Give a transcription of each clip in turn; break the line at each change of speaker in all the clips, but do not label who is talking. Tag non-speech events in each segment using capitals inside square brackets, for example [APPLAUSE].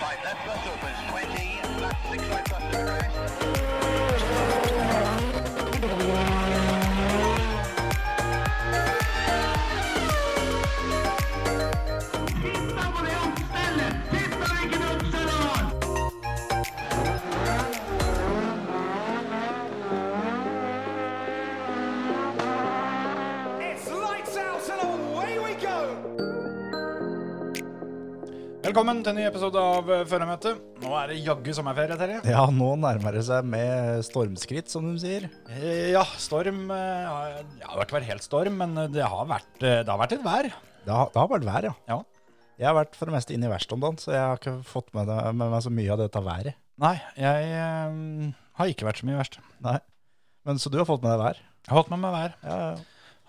Five left bus opens, 20, left six right bus to crest.
Velkommen til en ny episode av eh, Førermøtet. Nå er det jaggu sommerferie, Terje.
Ja, nå nærmer det seg med stormskritt, som de sier.
Eh, Ja, storm eh, har- Det har ikke vært helt storm, men eh, det har vært, eh, det har vært et vær.
Det har, det har vært vær, ja.
Ja.
Jeg har vært for det meste inne i verkstedet, så jeg har ikke fått med, det, med meg så mye av dette været.
Nei, jeg eh, har ikke vært så mye verst.
Nei. Men så du har fått med deg vær?
Jeg har holdt meg med vær.
Ja, ja.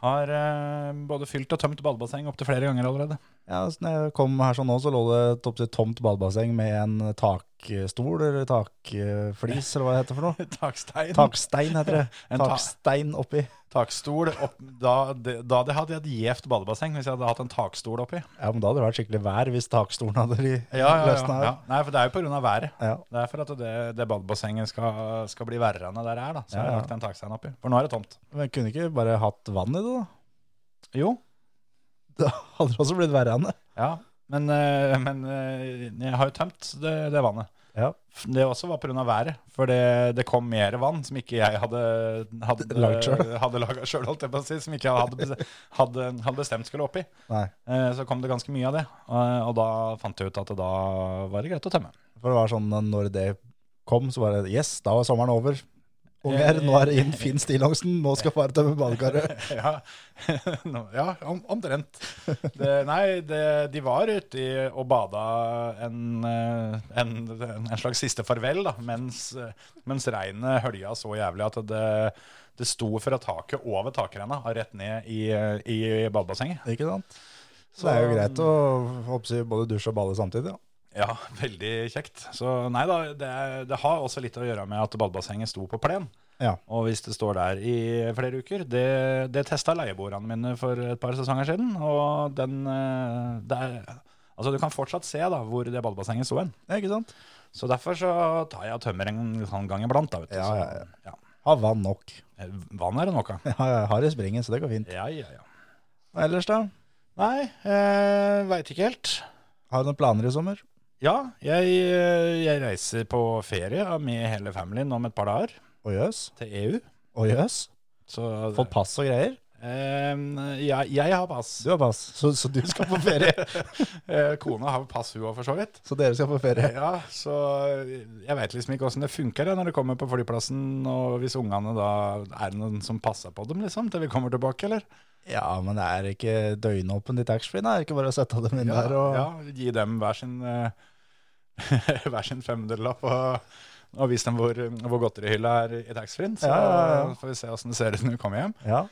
Har eh, både fylt og tømt badebasseng opptil flere ganger allerede.
ja så når jeg kom her sånn nå, så lå det et opptil tomt badebasseng med en takstol, eller takflis, eller hva det heter for
[LAUGHS]
noe.
[LAUGHS] Takstein.
Takstein heter det.
[LAUGHS] En ta-
Takstein oppi.
Takstol. Opp, da, det, da det hadde jeg et gjevt badebasseng hvis jeg hadde hatt en takstol oppi.
Ja, men da hadde det vært skikkelig vær hvis takstolen hadde de løsna her.
Ja. Nei, for det er jo pga. været.
Ja.
Det er for at det, det badebassenget skal, skal bli verre enn det der er, da. Så
Ja,
jeg har
ja.
lagt en takstein oppi. For nå er det tomt.
Men kunne ikke bare hatt vann i det, da? [LAUGHS]
Jo.
Da hadde det også blitt verre enn det.
Ja. Men, eh, men eh, jeg har jo tømt det, det vannet.
Ja.
F- Det også var pga. været. For det, det kom mer vann som ikke jeg hadde, hadde
[LAUGHS] Laget selv.
Hadde laget selv, holdt jeg på å si. Som ikke jeg hadde, bes- hadde, hadde bestemt skulle oppi.
Nei.
Eh, Så kom det ganske mye av det. Eh, Og da fant jeg ut at det da var det greit å tømme.
For det var sånn når det kom, så bare Yes, da var sommeren over. Unger, nå er det inn Finn Stillongsen. Nå skal far tømme badekaret.
[LAUGHS] Ja, Nå- ja om, omtrent. Det, nei, det, de var ute i- og bada en, eh, en, en slags siste farvel, da, mens, eh, mens regnet hølja så jævlig at det, det sto fra taket over takrenna og rett ned i, eh, i badebassenget.
Ikke sant? Så um, det er jo greit å hoppsi, både dusje og bade samtidig. Ja.
Ja, veldig kjekt. Så nei da, det, er- det har også litt å gjøre med at badebassenget sto på plen.
Ja.
Og hvis det står der i flere uker Det, det testa leieboerne mine for et par sesonger siden. Og den eh, det er, Altså, du kan fortsatt se da hvor det badebassenget sto hen.
ja, ikke sant?
Så derfor så tar jeg og tømmer en sånn gang iblant. da, vet du.
Ja,
Så,
ja, ja.
ja.
Ha vann nok. [LAUGHS]
Eh, Vann er det nok av.
Ja, jeg har i springen, så det går fint.
Ja, ja, ja.
Og ellers, da?
Nei, eh, veit ikke helt.
Har du noen planer i sommer?
Ja, jeg, eh, jeg reiser på ferie med hele familien om et par dager
Å jøs?
til EU.
Å jøs?
Så
Fått pass og greier?
eh, jeg, jeg har pass.
Du har pass, så, så du skal på ferie.
Eh, Kona har pass, hun òg, for så vidt.
[LAUGHS] Så dere skal på ferie.
Ja, så jeg veit liksom ikke åssen det funker jeg, når det kommer på flyplassen, og hvis ungene da Er det noen som passer på dem, liksom, til vi kommer tilbake, eller?
Ja, men det er ikke døgnåpent i taxfree, da. Det er ikke bare å sette dem inn der og
ja, gi dem hver sin, eh, [LAUGHS] hver sin femdelapp og, og vis dem hvor, hvor godterihylla er i taxfree-en. Så
Ja, ja, ja.
får vi se åssen det ser ut når vi kommer hjem.
Ja,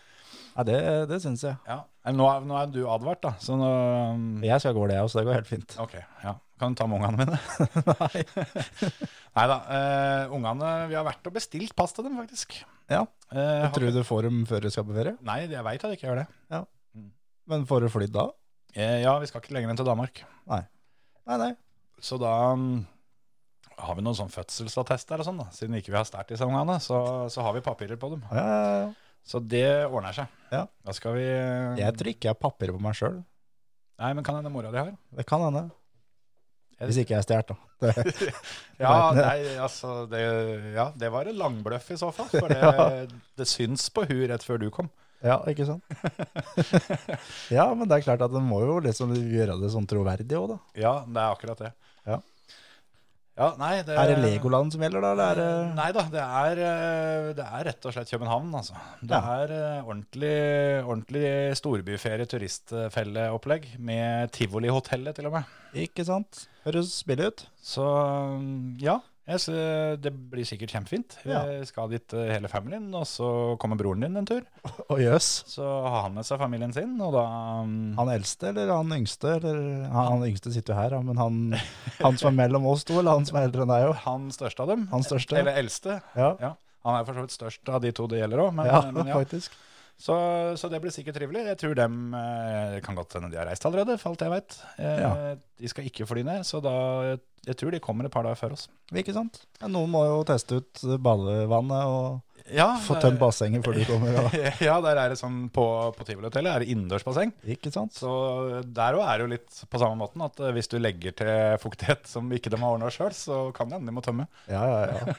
ja det, det syns jeg.
Ja. Eller Nå, er- nå er du advart, da, så nå um,
Jeg skal gå det, jeg også. Det går helt fint.
Ok, ja. Kan du ta med ungene mine? [LAUGHS]
[LAUGHS]
Nei da. Eh, ungene Vi har vært og bestilt pass til dem, faktisk.
Ja.
Eh,
Tror du du får dem før du skal på ferie?
Nei, jeg veit at jeg ikke gjør det.
Men får du flydd da?
Eh, Ja, vi skal ikke lenger enn til Danmark.
Nei, nei.
Så da mm, har vi noen sånn fødselsattester og sånn, da. Siden ikke vi har stært disse ungene, så, så har vi papirer på dem.
Ja, ja, ja.
Så det ordner seg.
Ja.
Da skal vi
Jeg tror ikke jeg har papir på meg sjøl.
Nei, men kan hende mora di har?
Det kan hende. Hvis ikke jeg er stjålet, da. Det,
Ja,
[LAUGHS] vet
nei, altså det, ja, det var en langbløff i så fall.
[LAUGHS]
For det, det syns på hun rett før du kom.
ja, ikke
[LAUGHS]
sant? ja, men det er klart at en må jo liksom gjøre det sånn troverdig òg, da.
Ja, det er akkurat det.
Ja.
Ja, nei, det Mm,
Er det Legoland som gjelder, da? Eller er det
Nei da, det er, eh, det er rett og slett København, altså. Det
Ja.
er eh, ordentlig, ordentlig storbyferie-turistfelleopplegg med Tivoli-hotellet til og med.
Ikke sant? Høres billig ut.
Så mm, ja, jeg, sy- det blir sikkert kjempefint. Vi
Ja.
skal dit eh, hele familien, og så kommer broren din en tur.
Å jøss.
Så har han med seg familien sin, og da mm,
Han eldste eller han yngste? Eller, han, han yngste sitter jo her, ja, men han, han som er mellom oss to, eller han som er eldre enn deg òg?
han største av dem,
Han største?
eller eldste,
Ja,
han er for så vidt størst av de to det gjelder òg, men,
ja,
men ja.
faktisk.
Så, så det blir sikkert trivelig. Jeg tror dem eh, Det kan godt hende de har reist allerede, for alt jeg veit.
Ja.
De skal ikke fly ned, så da Jeg tror de kommer et par dager før oss.
Ikke sant? Ja, Noen må jo teste ut badevannet og
Ja,
få tømt bassenget før du kommer. Og,
[LAUGHS] Ja, der er det sånn på, på Tivolihotellet er det innendørsbasseng.
ikke sant?
Så der òg er det jo litt på samme måten at eh, hvis du legger til fuktighet som ikke de har ordna sjøl, så kan det hende de må tømme.
Ja, ja, ja.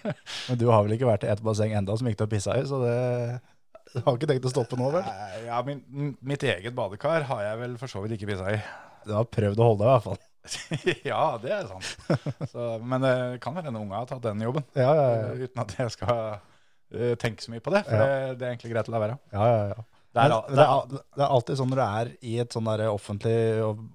Men du har vel ikke vært i et basseng enda som gikk til å pisse i, så det du har ikke tenkt å stoppe nå, vel?
Nei, Eh, Ja, min, m- mitt eget badekar har jeg vel for så vidt ikke pissa i. [LAUGHS]
Du har prøvd å holde deg i hvert fall.
ja, det er [LAUGHS] sant. Så, men det kan være en unge har tatt den jobben,
Ja, ja, ja.
uten at jeg skal eh, tenke så mye på det. For
Ja.
det, det er egentlig greit å la være.
ja, ja, ja.
Det er,
Men
al-
det, er, al- det er alltid sånn når du er i et sånn der offentlig,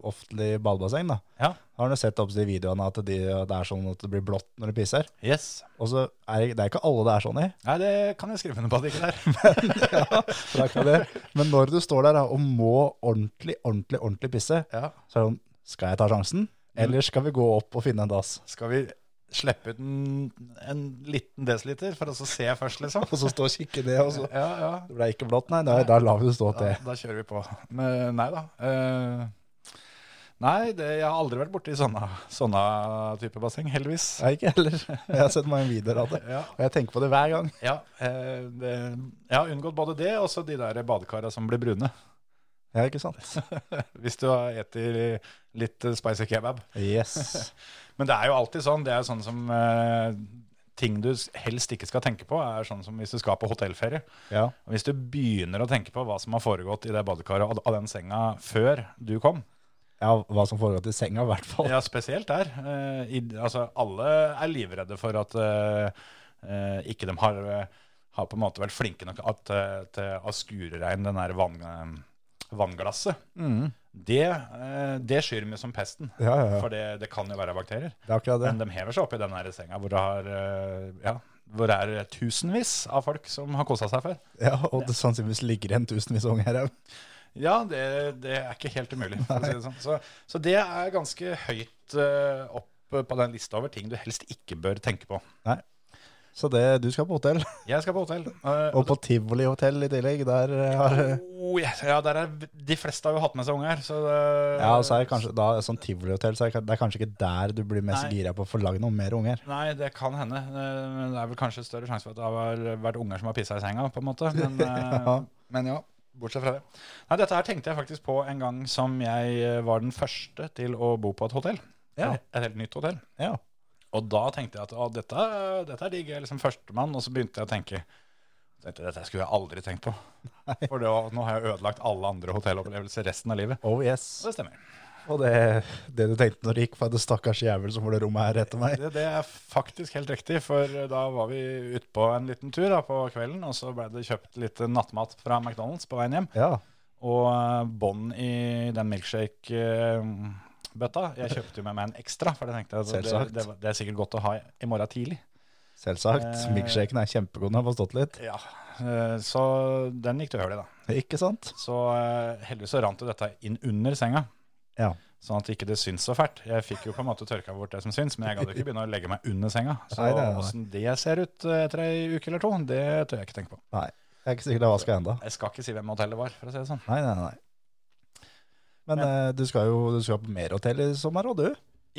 offentlig badebasseng, da.
Ja.
Har du sett opp de videoene at de, det er sånn at det blir blått når du pisser?
Yes.
Og så er det, det er ikke alle det er sånn i.
Nei, det kan jeg skrive under på at det ikke er.
Det er ikke det. Men når du står der da, og må ordentlig, ordentlig, ordentlig pisse,
[LAUGHS] Ja.
så er det sånn Skal jeg ta sjansen?
Mm.
Eller skal vi gå opp og finne en dass?
Skal vi slippe ut en, en liten desiliter for oss å se først, [LAUGHS] liksom?
Og så stå og kikke ned, og så
Ja, ja.
Det ble ikke blått, nei. Da, da lar vi det stå
Da,
til.
da kjører vi på. Men nei da. eh, nei, det, jeg har aldri vært borti sånne, sånne type basseng, heldigvis.
Nei, ikke heller. Jeg har sett mange videoer av det.
[LAUGHS] Ja.
Og jeg tenker på det hver gang.
Ja, eh, det, jeg har unngått både det og så de der badekara som blir brune.
Ja, ikke sant?
Hvis du har eter litt eh, spicy kebab.
Yes.
Men det er jo alltid sånn. Det er sånn som eh, ting du s- helst ikke skal tenke på, er sånn som hvis du skal på hotellferie.
Ja.
Og Hvis du begynner å tenke på hva som har foregått i det badekaret og av den senga før du kom,
ja, hva som foregår i senga, i hvert fall.
ja, spesielt der. eh, i, altså, alle er livredde for at eh, eh, ikke de har, eh, har på en måte vært flinke nok at, eh, til å skure rein den der vann, eh, vannglasset.
Mm.
Det, eh, det skyr vi som pesten,
Ja, ja, ja.
for det, det kan jo være bakterier.
Det er akkurat det.
Men de hever seg opp i den der senga hvor det, har, eh, ja, hvor det er tusenvis av folk som har kosa seg før.
Ja, og det sannsynligvis ligger igjen tusenvis av unger her.
Ja, det, det er ikke helt umulig. For å si det sånn. så, så det er ganske høyt eh, opp på den lista over ting du helst ikke bør tenke på.
Så det, du skal på hotell.
Jeg skal på hotell. eh,
Og på tivolihotell i tillegg. Der eh, har
oh, yes. Ja, der er, De fleste har jo hatt med seg unger, så eh, det,
Ja, og så er det kanskje da, sånn tivolihotell, så er det det er kanskje ikke der du blir mest
Nei.
gira på å få lagd noen mer unger.
Nei, det kan hende. Eh, Men det er vel kanskje større sjanse for at det har vært unger som har pissa i senga, på en måte. [LAUGHS] Men, eh,
Ja.
men ja. Bortsett fra det. Nei, Dette her tenkte jeg faktisk på en gang som jeg eh, var den første til å bo på et hotell.
Ja.
Et helt nytt hotell.
Ja.
Og da tenkte jeg at å, dette, dette er digg. Jeg er liksom førstemann. Og så begynte jeg å tenke dette, dette skulle jeg aldri tenkt [LAUGHS] på. For det, var- nå har jeg ødelagt alle andre hotellopplevelser resten av livet.
Oh yes.
Så det stemmer.
Og det, det du tenkte når du gikk på det stakkars jævel som var det rommet her etter meg.
Det, det er faktisk helt riktig, for eh, da var vi ute på en liten tur da, på kvelden, og så ble det kjøpt litt nattmat fra McDonald's på veien hjem,
Ja.
og eh, bånd i den milkshake-bøtta. Jeg kjøpte jo med meg en ekstra, for jeg tenkte at det,
Selvsagt.
det, var- det er sikkert godt å ha i morgen tidlig.
Selvsagt.
Eh.
Milkshaken er kjempegod når den har stått litt.
Ja, eh, så den gikk til høl i da.
Ikke sant?
Så eh, heldigvis så rant jo dette inn under senga.
Ja.
Sånn at ikke det syns så fælt. Jeg fikk jo på en måte tørka bort det som syns, men jeg gadd jo ikke begynne å legge meg under senga. Så
Nei, nei, nei.
åssen det ser ut eh, etter ei uke eller to, det tør jeg ikke tenke på.
Nei, jeg er ikke sikker det vaska enda.
Jeg skal ikke si hvem hotellet var, for å si det sånn.
Nei, nei, nei. Men eh, du skal jo du skal på mer hotell i sommer, og du.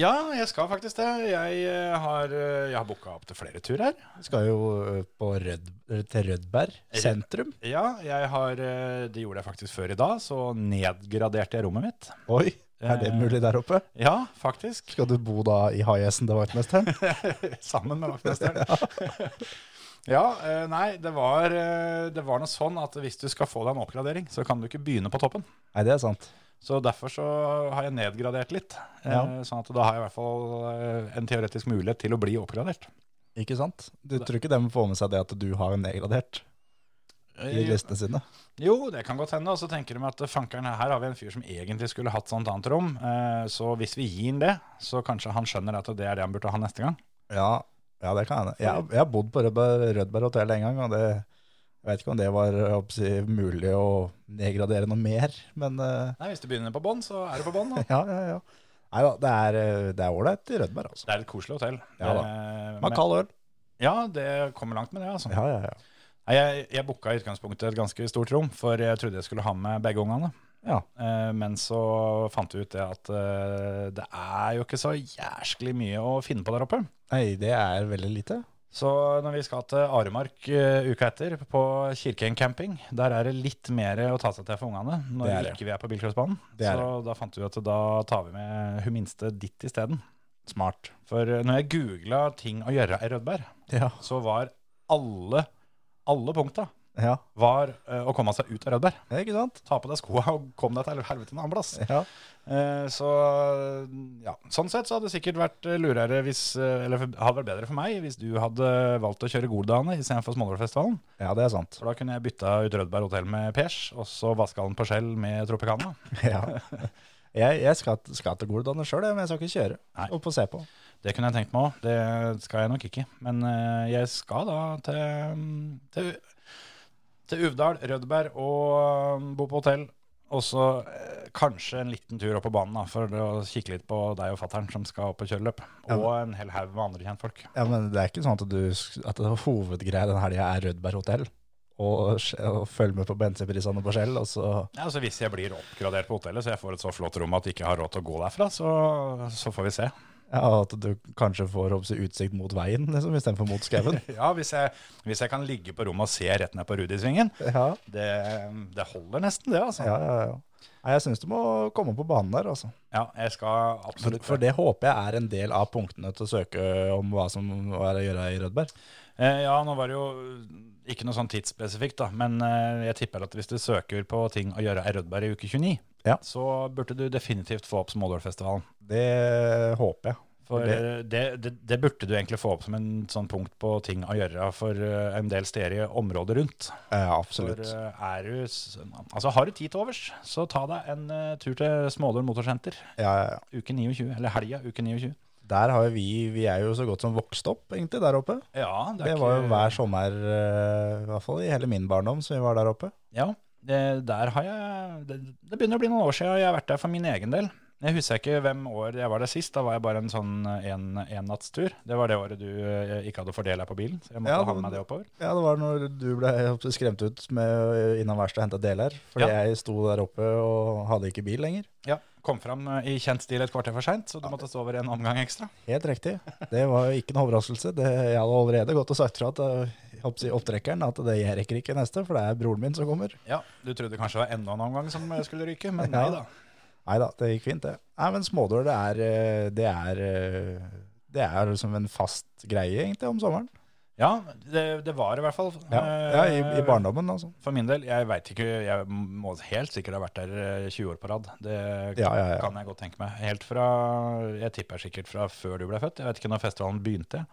Ja, jeg skal faktisk det. Jeg eh, har, eh, jeg har booka opp til flere turer.
Du skal jo eh, på Rød, til Rødberg sentrum.
Ja, jeg har eh, Det gjorde jeg faktisk før i dag, så nedgraderte jeg rommet mitt.
Oi, er det
Eh,
mulig der oppe?
Ja, faktisk. [LAUGHS]
Skal du bo da i Haiesen til vaktmesteren?
Sammen med vaktmesteren. ja, eh, nei, det var, eh, det var noe sånn at hvis du skal få deg en oppgradering, så kan du ikke begynne på toppen.
Nei, det er sant.
Så derfor så har jeg nedgradert litt. eh,
Ja.
Sånn at da har jeg i hvert fall eh, en teoretisk mulighet til å bli oppgradert.
Ikke sant? Du tror ikke de får med seg det at du har nedgradert i listene sine?
Eh, Jo, det kan godt hende. Og så tenker de at eh, fankeren her har vi en fyr som egentlig skulle hatt sånt annet rom. eh, Så hvis vi gir han det, så kanskje han skjønner at det er det han burde ha neste gang.
Ja, ja det kan hende. Jeg, jeg har bodd på Rødberg, Rødberg hotell en gang, og det, jeg vet ikke om det var jeg håper å si, mulig å nedgradere noe mer, men eh, [LAUGHS]
Nei, hvis du begynner på bånn, så er du på [LAUGHS] bånn. da.
Ja, ja, ja. Nei da, det er, eh, det er ålreit i Rødberg, altså.
Det er et koselig hotell.
Ja da.
Eh,
Med
men-
kald øl.
Ja, det kommer langt med det, altså.
Ja, ja, ja.
Nei, Nei, Jeg, jeg booka i utgangspunktet et ganske stort rom, for jeg trodde jeg skulle ha med begge ungene.
Ja.
Eh, Men så fant vi ut det at eh, det er jo ikke så jæsklig mye å finne på der oppe.
Nei, det er veldig lite.
Så når vi skal til Aremark eh, uka etter, på Kirkeen camping, der er det litt mer å ta seg til for ungene når
Det er det.
ikke vi er på bilcrossbanen.
Det er
Så da fant vi ut at da tar vi med hun minste dit isteden. Smart. For eh, når jeg googla ting å gjøre i Rødberg,
Ja.
så var alle, alle punkta
ja.
var eh, å komme seg ut av Rødberg.
Ikke sant?
Ta på deg skoa og kom deg til helvete en annen plass.
Ja.
Eh, Så ja, sånn sett så hadde det sikkert vært eh, lurere hvis eh, Eller for- hadde vært bedre for meg hvis du hadde valgt å kjøre Goldane istedenfor Smålårfestivalen.
ja, det er
[LAUGHS]
sant.
For da kunne jeg bytta ut Rødberg hotell med Pers, og så Vasskallen på Skjell med Tropicana.
Ja. Jeg, jeg skal, skal til Goldane sjøl, men jeg skal ikke kjøre.
Nei.
Opp og se på.
Det kunne jeg tenkt meg òg. Det skal jeg nok ikke. Men eh, jeg skal da til, til, til Uvdal, Rødberg og eh, bo på hotell. Og så eh, kanskje en liten tur opp på banen da, for å kikke litt på deg og fattern som skal opp og kjøre løp.
Ja, men-
Og en hel haug med andre kjentfolk.
Ja, men det er ikke sånn at, du, sk- at det hovedgreia den helga er Rødberg hotell. Og, sj- og følge med på bensinprisene på Skjell, og så
Ja, altså Hvis jeg blir oppgradert på hotellet, så jeg får et så flott rom at jeg ikke har råd til å gå derfra, så, så får vi se.
ja, at du kanskje får opp til utsikt mot veien liksom, istedenfor mot skauen.
Ja, Hvis jeg, hvis jeg kan ligge på rommet og se rett ned på Rudisvingen,
[LAUGHS] Ja,
det, det holder nesten, det. altså.
ja, ja. ja. Nei, jeg syns du må komme på banen der, altså.
Ja, jeg skal
For,
absolutt
for det håper jeg er en del av punktene til å søke om hva som er å gjøre i Rødberg.
Eh, ja, nå var det jo ikke noe sånn tidsspesifikt, da, men eh, jeg tipper at hvis du søker på ting å gjøre i Rødberg i uke 29,
Ja.
så burde du definitivt få opp Smådålfestivalen.
Det håper jeg.
For
Det-
eh, det, det, det burde du egentlig få opp som en sånn punkt på ting å gjøre for eh, en del steder i området rundt.
Ja,
For
absolutt.
eh, er du, s- altså har du tid til overs, så ta deg en eh, tur til Smålår motorsenter
eh, Ja, ja, ja.
uke 29, eller helga uke 29.
Der har jo vi Vi er jo så godt som vokst opp, egentlig, der oppe.
Ja,
Det, var jo hver sommer, eh, i hvert fall i hele min barndom, som vi var der oppe.
Ja, det, der har jeg det, det begynner å bli noen år siden jeg har vært der for min egen del. Jeg husker ikke hvem år jeg var der sist. Da var jeg bare en sånn eh, en, ennattstur. Det var det året du eh, ikke hadde fordel deg på bilen, så jeg måtte
Ja,
ha
det-
med meg det oppover.
Ja, det var når du ble skremt ut med eh, innom verkstedet og hente deler. Fordi
Ja.
jeg sto der oppe og hadde ikke bil lenger.
Ja, Kom fram eh, i kjent stil et kvarter for seint, så du måtte stå over en omgang ekstra.
Helt riktig. Det var jo ikke noe overraskelse. Det, jeg hadde allerede gått og sagt fra til jeg holdt på å si, opptrekkeren at det jeg rekker ikke neste, for det er broren min som kommer.
Ja, Du trodde kanskje det var enda en omgang som eh, skulle ryke, [LAUGHS] men nei da.
Ja. Nei da, det gikk fint, det. Nei, men smådør, det er eh, Det er, eh, det er liksom en fast greie, egentlig, om sommeren.
Ja, det, det var i hvert fall.
Ja, ja i, i
eh,
barndommen, altså.
For min del, jeg veit ikke Jeg må helt sikkert ha vært der eh, 20 år på rad. Det kan,
Ja, ja, ja.
kan jeg godt tenke meg. Helt fra Jeg tipper sikkert fra før du ble født. Jeg vet ikke når festivalen begynte.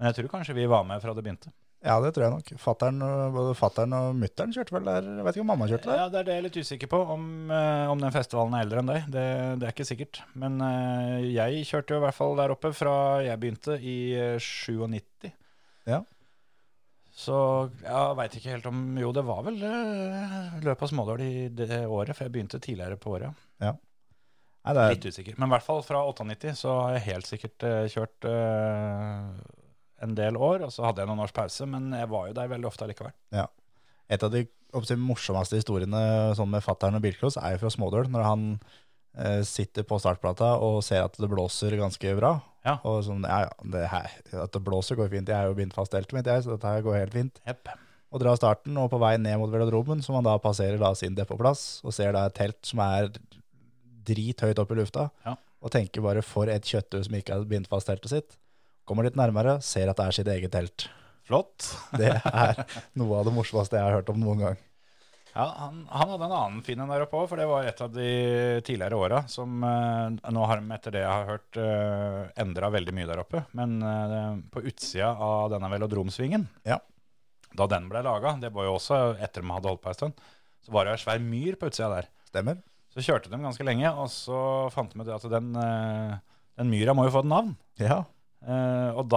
Men jeg tror kanskje vi var med fra det begynte.
Ja, det tror jeg nok. Fatteren, og- både fattern og mutter'n kjørte vel der. Jeg vet ikke om mamma kjørte der.
Ja, Det er det jeg er litt usikker på, om, eh, om den festivalen er eldre enn deg. Det, det er ikke sikkert. Men eh, jeg kjørte jo i hvert fall der oppe fra jeg begynte i eh, 97.
Ja.
Så jeg veit ikke helt om Jo, det var vel eh, løpet av smådål i det året, for jeg begynte tidligere på året.
Nei, det er,
Litt usikker. Men i hvert fall fra 98 så har jeg helt sikkert eh, kjørt eh, en del år. Og så hadde jeg noen års pause, men jeg var jo der veldig ofte allikevel.
et av de oppsett, morsomste historiene sånn med fattern og bilcross er jo fra Smådøl, når han eh, sitter på startplata og ser at det blåser ganske bra.
Ja.
Og sånn, ja, ja, det her, at det blåser går fint. Jeg er jo bindt fast teltet mitt, jeg, så dette her går helt fint.
Jepp.
Og drar starten, og på vei ned mot velodromen, som han da passerer da sin depotplass, og ser da et telt som er drithøyt opp i lufta,
Ja.
og tenker bare for et kjøttu som ikke har bindt fast teltet sitt. Kommer litt nærmere, ser at det er sitt eget telt.
Flott.
Det er noe av det morsomste jeg har hørt om noen gang.
Ja, han, han hadde en annen fin en der oppe òg, for det var et av de tidligere åra som eh, Nå har de, etter det jeg har hørt, eh, endra veldig mye der oppe. Men eh, på utsida av denne velodromsvingen,
Ja.
da den ble laga, det var jo også etter de hadde holdt på ei stund, så var det ei svær myr på utsida der.
Stemmer.
Så kjørte de ganske lenge, og så fant de ut at den, eh, den myra må jo få et navn.
Ja,
Eh, og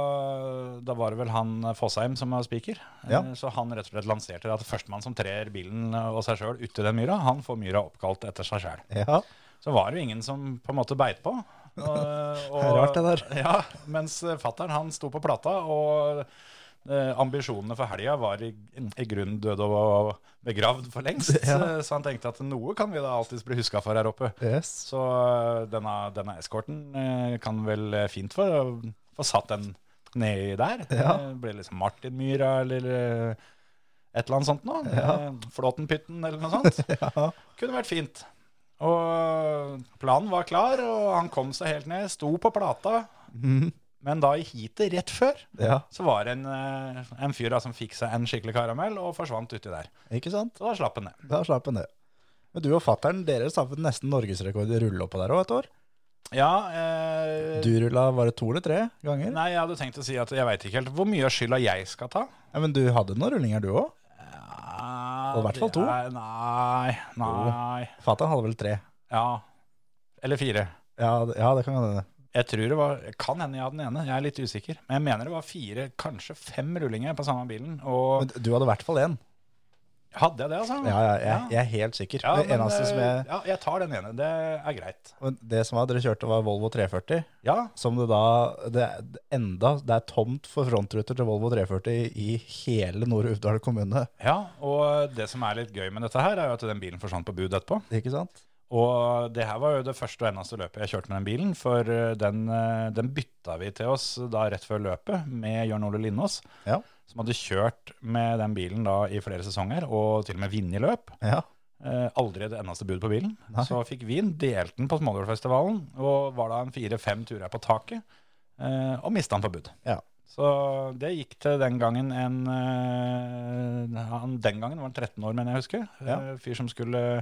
da, da var det vel han Fosheim som var spiker. Eh,
Ja.
Så han rett og slett lanserte det at førstemann som trer bilen og seg sjøl uti den myra, han får myra oppkalt etter seg sjøl.
ja.
Så var det jo ingen som på en måte beit
[LAUGHS]
på. Og, og,
Det er rart det der.
Ja, mens fattern han sto på plata og eh, ambisjonene for helga var i, i grunnen døde og begravd for lengst.
[LAUGHS] Ja.
eh, Så han tenkte at noe kan vi da alltids bli huska for her oppe.
Yes.
Så eh, denne, denne eskorten eh, kan vel eh, fint få, få satt den nedi der.
[LAUGHS] Ja.
Det blir liksom Martin Myhra eller eh, et eller annet sånt noe.
Ja.
Flåtenpytten eller noe sånt.
[LAUGHS] Ja.
Kunne vært fint. Og eh, planen var klar, og han kom seg helt ned, sto på plata.
Mhm.
Men da i heatet rett før,
ja.
så var det en, eh, en fyr da, som fikk seg en skikkelig karamell og forsvant uti der.
Ikke sant?
Så da slapp han ned.
Da slapp en det. Men du og fatter'n, dere satte nesten norgesrekord i rulle oppå der òg et år.
Ja, eh,
Du rulla var det to eller tre ganger?
Nei, jeg hadde tenkt å si at jeg veit ikke helt hvor mye av skylda jeg skal ta.
Ja, men du hadde noen rullinger, du òg?
Ja,
Og i hvert fall
det
to.
er- Nei, nei.
Fatter'n hadde vel tre?
Ja. Eller fire.
Ja, det- ja det kan hende.
Jeg tror det var, kan hende jeg hadde den ene, jeg er litt usikker. Men jeg mener det var fire, kanskje fem rullinger på samme bilen. Og
Men du hadde i hvert fall én.
Hadde jeg det, altså?
Ja, ja, jeg, jeg er helt sikker.
Ja,
det
men,
eneste som
eh,
jeg,
ja, jeg tar den ene. Det er greit.
men det som var, dere kjørte, var Volvo 340.
Ja,
Som det da det, det enda Det er tomt for frontruter til Volvo 340 i hele Nord-Uvdal kommune.
ja, og det som er litt gøy med dette her, er jo at den bilen forsvant på bud etterpå.
Ikke sant?
Og det her var jo det første og eneste løpet jeg kjørte med den bilen, for eh, den, eh, den bytta vi til oss da rett før løpet med Jørn Ole Lindås,
Ja.
som hadde kjørt med den bilen da i flere sesonger, og til og med vinn i løp.
Ja.
Eh, aldri det eneste bud på bilen.
Nei.
Så fikk vi den, delte den på Smådalsfestivalen, og var da en fire-fem turer på taket, eh, og mista den på bud.
Ja.
Så det gikk til den gangen en eh, han, Den gangen var han 13 år, mener jeg å huske.
Ja.
Eh, fyr som skulle,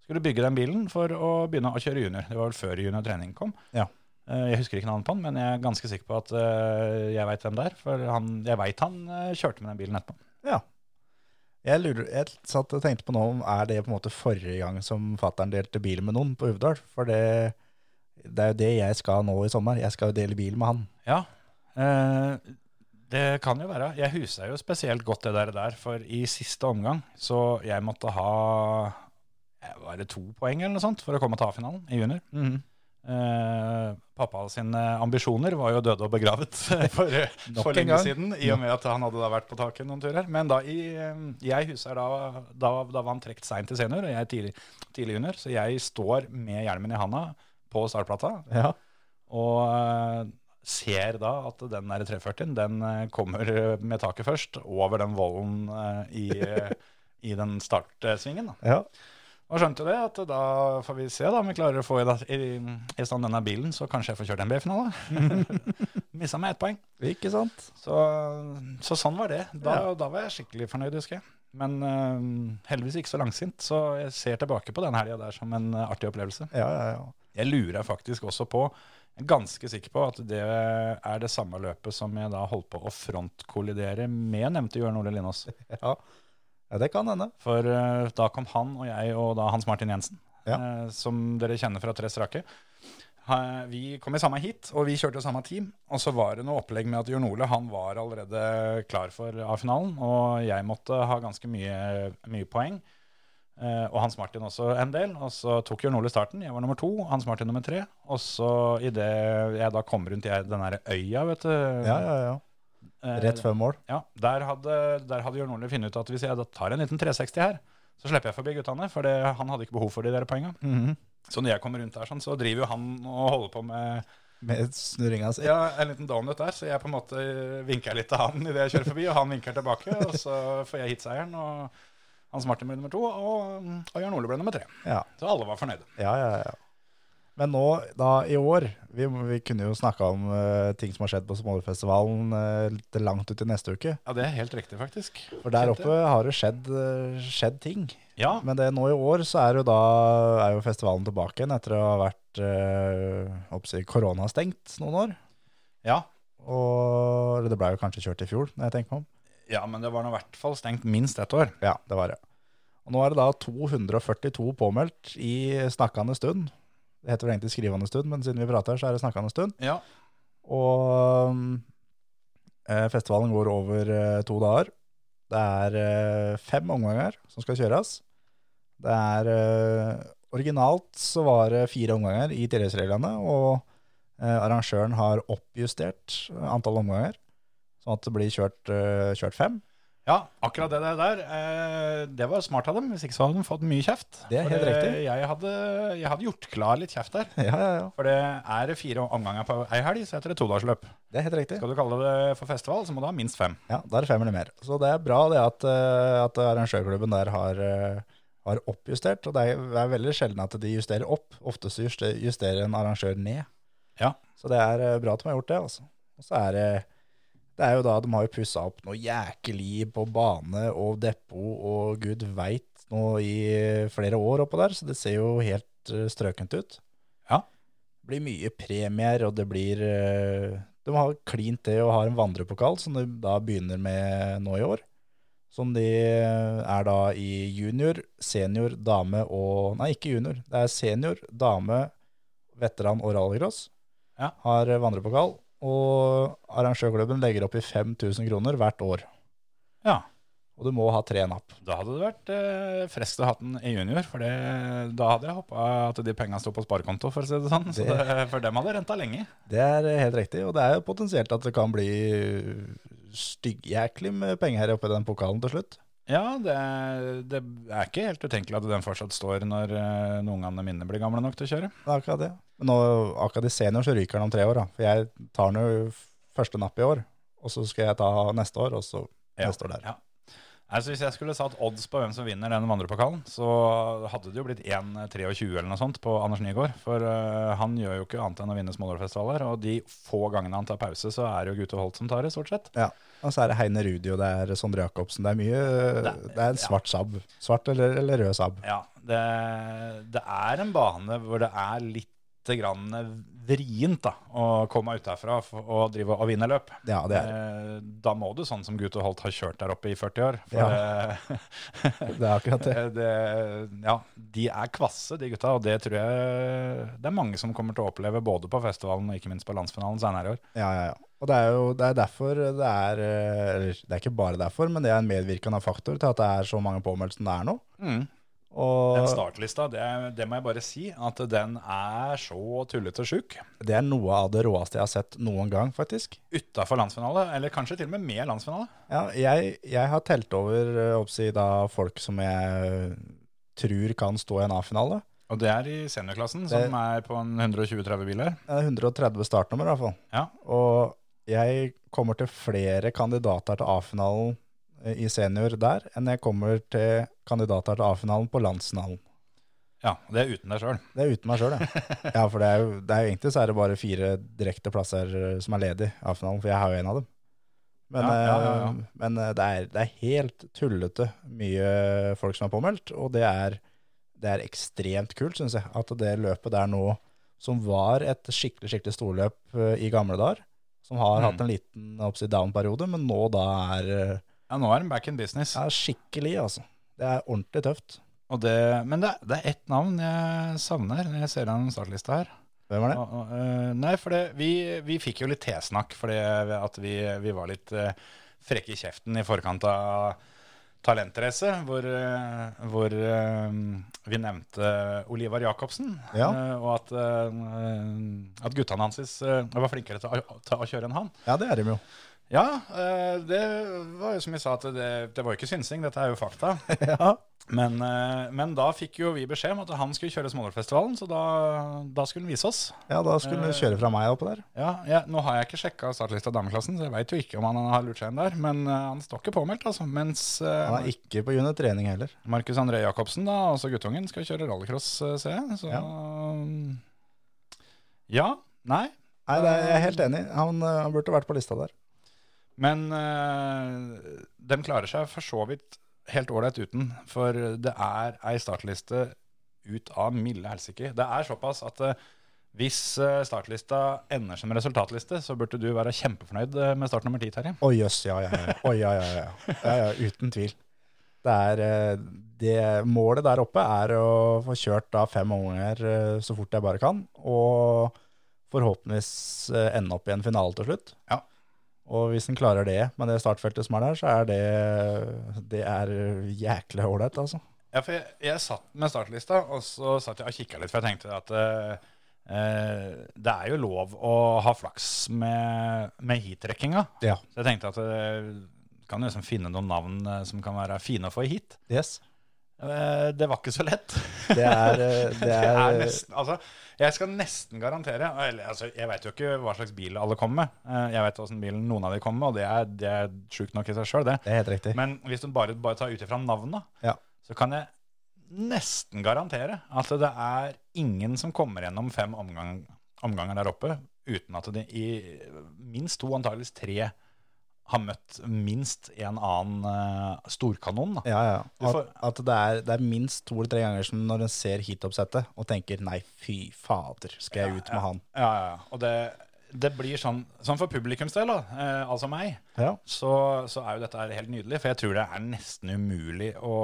skulle bygge den bilen for å begynne å kjøre junior. Det var vel før junior trening kom.
Ja.
Eh, Jeg husker ikke navnet på han, men jeg er ganske sikker på at eh, jeg veit hvem det er. For han, jeg veit han eh, kjørte med den bilen etterpå.
Jeg, lurer, jeg satt og tenkte på nå om er det på en måte forrige gang som fattern delte bil med noen på Uvdal? For det, det er jo det jeg skal nå i sommer. Jeg skal jo dele bil med han.
Ja, eh, det kan jo være. Jeg huset jo spesielt godt det der, der, for i siste omgang så jeg måtte ha eh, var det to poeng eller noe sånt for å komme til A-finalen i junior. Eh, pappa sine ambisjoner var jo døde og begravet [LAUGHS] for,
Nok
for
en
lenge
gang.
siden, i og med at han hadde da vært på taket noen turer. Men da i, eh, jeg husker da, da, da var han trekt seint i senior, og jeg tidlig, tidlig junior, så jeg står med hjelmen i handa på startplata,
Ja.
og eh, ser da at den der 340-en den eh, kommer eh, med taket først over den volden eh, i, eh, i den startsvingen. Da.
ja.
Og skjønte det at da får vi se da om vi klarer å få i, da- i, i stand denne bilen, så kanskje jeg får kjørt en B-finale. Missa meg ett poeng.
Ikke sant?
Så, så sånn var det. Da, da var jeg skikkelig fornøyd, husker jeg. Men eh, heldigvis ikke så langsint, så jeg ser tilbake på den helga der som en eh, artig opplevelse.
Ja, ja, ja.
Jeg lurer faktisk også på, jeg er ganske sikker på, at det er det samme løpet som jeg da holdt på å frontkollidere med nevnte Jørn Ole Linås.
Ja, ja det kan hende.
For eh, da kom han og jeg og da Hans Martin Jensen,
Ja.
eh, som dere kjenner fra Tre strake. Ha- Vi kom i samme hit, og vi kjørte samme team. Og så var det noe opplegg med at Jørn Ole han var allerede klar for A-finalen, og jeg måtte ha ganske mye, mye poeng. Eh, og Hans Martin også en del. Og så tok Jørn Ole starten. Jeg var nummer to, Hans Martin nummer tre. Og så idet jeg da kom rundt jeg, den der øya, vet du Eh,
Ja, ja, ja. Rett før mål.
ja, der hadde, der hadde Jørn Ole funnet ut at hvis jeg da tar en liten 360 her, så slipper jeg forbi guttene, for det, han hadde ikke behov for de der poengene.
Mhm.
Så når jeg kommer rundt der, sånn, så driver jo han og holder på med
Med snurringa si.
ja, en liten donut der, så jeg på en måte vinker litt til han idet jeg kjører forbi, og han vinker tilbake, og så får jeg hitseieren, og Hans Martin ble nummer to, og, og Jørn Ole ble nummer tre.
Ja.
Så alle var fornøyde.
Ja, ja, ja. Men nå, da, i år, vi, vi kunne jo snakka om eh, ting som har skjedd på Smålerfestivalen eh, litt langt ut i neste uke.
Ja, det er helt riktig, faktisk.
For der oppe har det skjedd, eh, skjedd ting.
Ja,
Men det, nå i år så er jo da er jo festivalen tilbake igjen etter å ha vært eh, oppsi, koronastengt noen år.
ja.
Og eller det blei jo kanskje kjørt i fjor, når jeg tenker meg om.
ja, men det var nå i hvert fall stengt minst ett år.
Ja, det var det. Og nå er det da 242 påmeldt i snakkende stund. Det heter vel egentlig skrivende stund, men siden vi prater, så er det snakkende stund.
Ja,
Og mm, eh, festivalen går over eh, to dager. Det er eh, fem omganger som skal kjøres. Det er eh, Originalt så var det fire omganger i tilleggsreglene, og eh, arrangøren har oppjustert antall eh, omganger. Sånn at det blir kjørt, eh, kjørt fem. [LAUGHS]
Ja, akkurat det der, eh, det var smart av dem. Hvis ikke så hadde de fått mye kjeft.
Det er
For,
helt
eh,
riktig.
Jeg hadde, jeg hadde gjort klar litt kjeft der.
Ja, ja, ja.
For det er det fire omganger på ei helg, så heter det todagersløp.
Det er helt riktig.
Skal du kalle det for festival, så må du ha minst fem.
Ja, da er det fem eller mer. Så det er bra det at, eh, at arrangørklubben der har, eh, har oppjustert. Og det er, det er veldig sjelden at de justerer opp. Ofte så juste- justerer en arrangør ned.
Ja.
Så det er eh, bra at de har gjort det, altså. Og så er det det er jo da, De har jo pussa opp noe jækelig på bane og depot og gud veit nå i flere år oppå der, så det ser jo helt eh, strøkent ut.
Ja.
Det blir mye premier, og det blir eh, de har klint det og har en vandrepokal som de da begynner med nå i år. Som de eh, er da i junior, senior, dame og Nei, ikke junior. Det er senior, dame, veteran og rallycross.
Ja.
Har eh, vandrepokal. Og arrangørklubben legger opp i 5000 kroner hvert år.
Ja.
Og du må ha tre napp.
Da hadde det vært eh, frest å ha den i junior, for det, da hadde jeg håpa at de penga sto på sparekonto, for å si det sånn. Så
Det-
det, for dem hadde renta lenge.
Det er eh, helt riktig, og det er jo potensielt at det kan bli styggjæklig med penger her oppe i den pokalen til slutt.
Ja, det, det er ikke helt utenkelig at den fortsatt står når eh, noen ungene mine blir gamle nok til å kjøre.
Det er akkurat det. Men nå, akkurat i senior så ryker den om tre år, da. For jeg tar den jo f- første napp i år, og så skal jeg ta neste år, og så
Ja.
neste år der.
Ja. Altså, hvis jeg skulle satt odds på hvem som vinner den vandrepokalen, så hadde det jo blitt eh, 1,23 eller noe sånt på Anders Nygaard. For eh, han gjør jo ikke annet enn å vinne smålårfestivaler. Og de få gangene han tar pause, så er det jo Gute Holt som tar det, stort sett.
Og så er det Heine Rudi, og det er Sondre Jacobsen. Det er mye Det,
Det-
er en svart Saab. Svart eller, eller rød Saab.
Ja, det, det er en bane hvor det er litt grann vrient da, å komme ut derfra f- og drive og vinne løp.
Ja, det er det.
Eh, Da må du sånn som Gute Holt har kjørt der oppe i 40 år. For det, [LAUGHS]
Det er akkurat det.
Eh, Det, ja, de er kvasse, de gutta, og det tror jeg det er mange som kommer til å oppleve både på festivalen og ikke minst på landsfinalen senere i år.
Ja, ja, ja. Og det er jo det er derfor det er eh, Eller det er ikke bare derfor, men det er en medvirkende faktor til at det er så mange påmeldelser det er nå.
Mm. Den
Og
startlista, det, det må jeg bare si, at den er så tullete sjuk.
det er noe av det råeste jeg har sett noen gang, faktisk.
Utafor landsfinale, eller kanskje til og med med landsfinale.
Ja, jeg, jeg har telt over eh, oppsi, da, folk som jeg tror kan stå i en A-finale.
Og det er i seniorklassen,
Det-
som er på en 120-30 biler.
Det er 130 startnummer i hvert fall.
Ja.
Og jeg kommer til flere kandidater til A-finalen eh, i senior der, enn jeg kommer til kandidater til A-finalen på landsfinalen.
Ja, og det er uten deg sjøl.
Det er uten meg sjøl, det. Ja, for det er, jo, det er jo egentlig så er det bare fire direkte plasser eh, som er ledige i A-finalen, for jeg har jo en av dem. Men,
Ja, ja, ja, ja.
eh, men eh, det, er, det er helt tullete mye folk som er påmeldt, og det er, det er ekstremt kult, syns jeg, at det løpet der nå, som var et skikkelig, skikkelig storløp eh, i gamle dager, som har
Mm.
hatt en liten upside-down-periode, men nå da er eh,
Ja, nå er den back in business.
ja, skikkelig, altså. Det er ordentlig tøft.
Og det, men det, er- det er ett navn jeg savner når jeg ser den startlista her.
Hvem var det?
Og- og, eh, nei, for det, vi, vi fikk jo litt tesnakk fordi at vi, vi var litt eh, frekke i kjeften i forkant av talentrace, hvor, eh, hvor eh, vi nevnte Olivar Jacobsen,
Ja.
eh, og at, eh, at guttene hans eh, var flinkere til å, til å kjøre enn han.
Ja, det er de jo.
Ja, eh, det var jo som jeg sa, at det, det var jo ikke synsing, dette er jo fakta.
[LAUGHS] Ja.
Men, eh, men da fikk jo vi beskjed om at han skulle kjøre Smålårfestivalen, så da, da skulle han vise oss.
Ja, da skulle
Eh.
du kjøre fra meg oppe der.
Ja, jeg- nå har jeg ikke sjekka startlista i dameklassen, så jeg veit jo ikke om han har lurt seg inn der. Men eh, han står ikke påmeldt, altså. Mens eh,
Han er ikke på junior trening heller.
Markus André Jacobsen, da, altså guttungen, skal kjøre rallycross, eh, ser jeg. Så ja. Nei.
Nei, det er, jeg er helt enig. Han, eh, han burde vært på lista der.
Men eh, de klarer seg for så vidt helt ålreit uten. For det er ei startliste ut av milde helsike. Det er såpass at eh, hvis eh, startlista ender som resultatliste, så burde du være kjempefornøyd eh, med start nummer ti, Terje.
Å jøss, ja, ja, ja. Å, ja, ja, ja. ja, ja uten tvil. Det er, eh, det, målet der oppe er å få kjørt da fem omganger eh, så fort jeg bare kan, og forhåpentligvis eh, ende opp i en finale til slutt.
Ja.
Og hvis en klarer det med det startfeltet som er der, så er det, det er jæklig ålreit, altså.
Ja, for jeg, jeg satt med startlista, og så satt jeg og kikka litt, for jeg tenkte at eh, eh, det er jo lov å ha flaks med, med heat-trekkinga.
Ja.
Så jeg tenkte at eh, kan jo liksom finne noen navn eh, som kan være fine å få i hit.
Yes.
Eh, det var ikke så lett. [LAUGHS]
Det er, eh, det
Det er
er
nesten, altså, jeg skal nesten garantere eller, altså, Jeg vet jo ikke hva slags bil alle kommer med. Eh, Jeg vet åssen bilen noen av de kommer med, og det er, det er sjukt nok i seg sjøl, det.
Det er helt riktig.
[LAUGHS] Men hvis du bare, bare tar ut ifra navnet,
Ja.
så kan jeg nesten garantere at det er ingen som kommer gjennom fem omgang, omganger der oppe uten at de i minst to, antageligvis tre, har møtt minst en annen eh, storkanon. Da.
Ja, ja.
Du
At,
får-
at det, er, det er minst to eller tre ganger som når en ser heatoppsettet og tenker nei, fy fader, skal jeg ut med han?
Ja, ja, ja. Og det, det blir sånn, sånn for publikums del, da, eh, altså meg,
Ja.
så, så er jo dette her helt nydelig. For jeg tror det er nesten umulig å,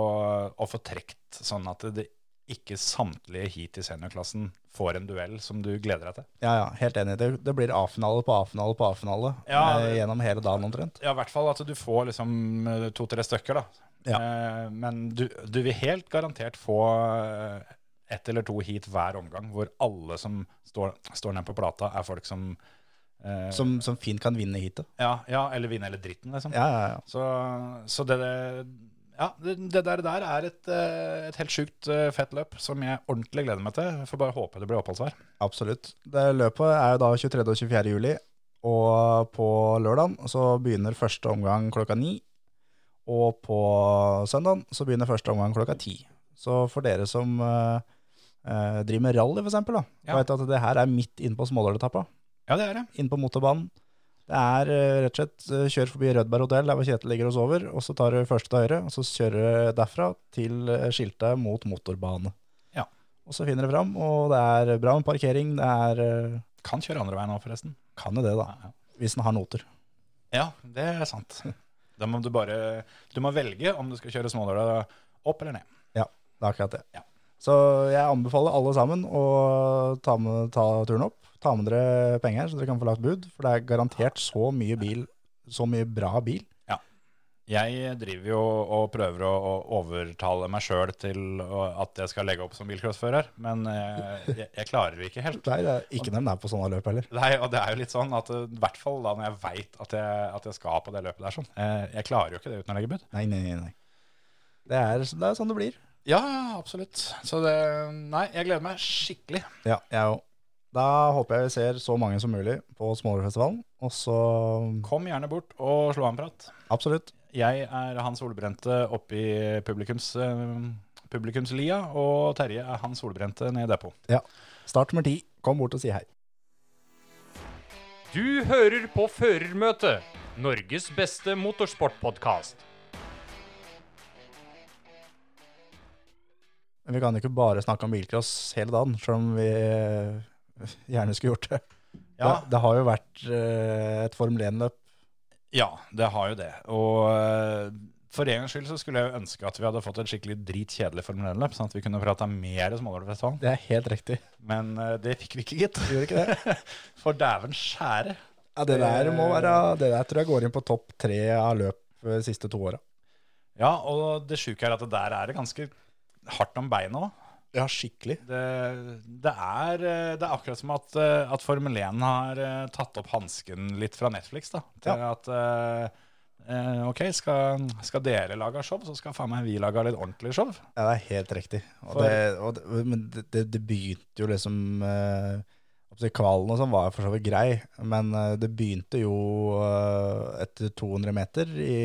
å få trekt sånn at det ikke samtlige hit i seniorklassen får en duell som du gleder deg til.
Ja, ja, helt enig. Det, det blir A-finale på A-finale på A-finale
Ja,
eh,
det-
gjennom hele dagen omtrent.
Ja, i hvert fall at du får liksom eh, to-tre stykker, da.
Ja.
Eh, men du, du vil helt garantert få eh, ett eller to hit hver omgang, hvor alle som står, står ned på plata, er folk som eh,
Som, som fint kan vinne heatet.
ja, ja, eller vinner eller dritten, liksom.
Ja, ja, ja.
Så, så det, det- ja, det, det der, der er et, eh, et helt sjukt eh, fett løp som jeg ordentlig gleder meg til. Jeg får bare håpe det blir oppholdsvær.
Absolutt. Det løpet er jo da 23. og 24. juli, og på lørdagen så begynner første omgang klokka ni, og på søndagen så begynner første omgang klokka ti. Så for dere som eh, eh, driver med rally for eksempel da,
Ja.
vet at det her er midt inne på Smålåletappa,
Ja, det er det.
inne på motorbanen. Det er eh, rett og slett eh, kjør forbi Rødberg hotell, der hvor Kjetil ligger og sover, og så tar du første til høyre, og så kjører du derfra til eh, skiltet mot motorbane.
Ja.
Og så finner du fram, og det er bra med parkering, det er eh,
Kan kjøre andre veien òg, forresten.
Kan jo det, da.
Ja,
Hvis den har noter.
Ja, det er sant. [LAUGHS] Da må du bare Du må velge om du skal kjøre smådøla opp eller ned.
Det er akkurat det.
Ja.
Så jeg anbefaler alle sammen å ta, med, ta turen opp. Ta med dere penger, så dere kan få lagt bud. For det er garantert så mye bil, så mye bra bil.
Jeg driver jo og prøver å, å overtale meg sjøl til å- at jeg skal legge opp som bilcrossfører, men eh, jeg, jeg klarer det ikke helt.
Nei, det er ikke den der på sånne løp heller.
Nei, og det er jo litt sånn at eh, i hvert fall da når jeg veit at, jeg- at jeg skal på det løpet der sånn. eh, Jeg klarer jo ikke det uten å legge bud.
Nei, nei, nei. nei. Det, er, det er sånn det blir.
Ja, ja, absolutt. Så det Nei, jeg gleder meg skikkelig.
Ja, jeg òg. Da håper jeg vi ser så mange som mulig på Smålerfestivalen. Og så
Kom gjerne bort og slå av en prat.
Absolutt.
Jeg er han solbrente oppe i publikums, eh, publikumslia, og Terje er han solbrente nede i depot.
Start nummer ti. Kom bort og si hei.
Du hører på Førermøtet, Norges beste motorsportpodkast.
Men vi kan jo ikke bare snakke om bilcross hele dagen, selv om vi eh, gjerne skulle gjort det.
Ja.
Det, det har jo vært eh, et Formel 1-løp.
Ja, det har jo det. Og eh, for en gangs skyld så skulle jeg jo ønske at vi hadde fått et skikkelig dritkjedelig Formel 1-løp, sånn at vi kunne prata mer Smålålfestivalen.
Det er helt riktig.
Men eh, det fikk vi ikke, gitt.
Gjorde ikke det?
[LAUGHS] For dæven skjære.
Ja, det der må være Det der tror jeg går inn på topp tre av løp de siste to åra.
Ja, og det sjuke er at det der er det ganske hardt om beina òg.
Ja, skikkelig.
Det, det, er, eh, det er akkurat som at, eh, at Formel 1 har eh, tatt opp hansken litt fra Netflix. da, til at eh, eh, ok, skal, skal dere lage show, så skal faen meg vi lage litt ordentlig show.
Ja, det er helt riktig. Og
For-
det, og det, men det, det, det begynte jo liksom eh, altså Kvalen og sånn var jo for så vidt grei, men eh, det begynte jo eh, etter 200 meter i,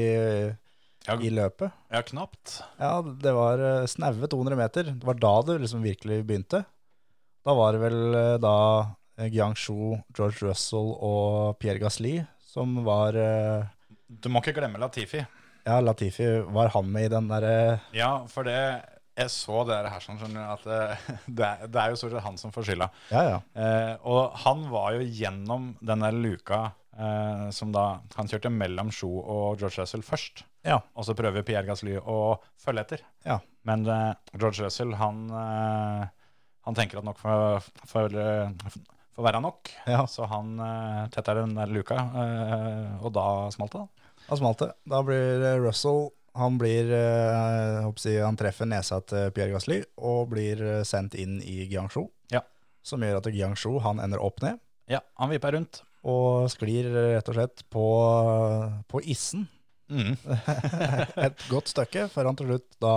Ja,
i løpet.
ja knapt.
Ja, det var eh, snaue 200 meter. Det var da det liksom virkelig begynte. Da var det vel eh, da eh, Guangzhou, George Russell og Pierre Gasli som var eh,
Du må ikke glemme Latifi.
Ja, Latifi var han med i den eh, derre
Ja, for det jeg så det her, sånn, skjønner du, at eh, [LAUGHS] det, er- det er jo stort sett han som får skylda.
Ja, ja.
Eh, og han var jo gjennom den der luka eh, som da Han kjørte mellom Sjo og George Russell først.
Ja.
Og så prøver Pierre Gasly å følge etter.
Ja.
Men eh, George Russell, han, eh, han tenker at nok får for, for være nok.
ja.
Så han eh, tetter den der luka, eh, og da smalt det. da.
Han smalt det. Da blir eh, Russell Han blir eh, jeg håper å si, Han treffer nesa til Pierre Gasli og blir eh, sendt inn i Guangzhou.
Ja.
som gjør at Jiangshu han ender opp ned
Ja, han vipper rundt.
og sklir eh, rett og slett på, på issen
Mm.
et [LAUGHS] godt stykke, før han til slutt da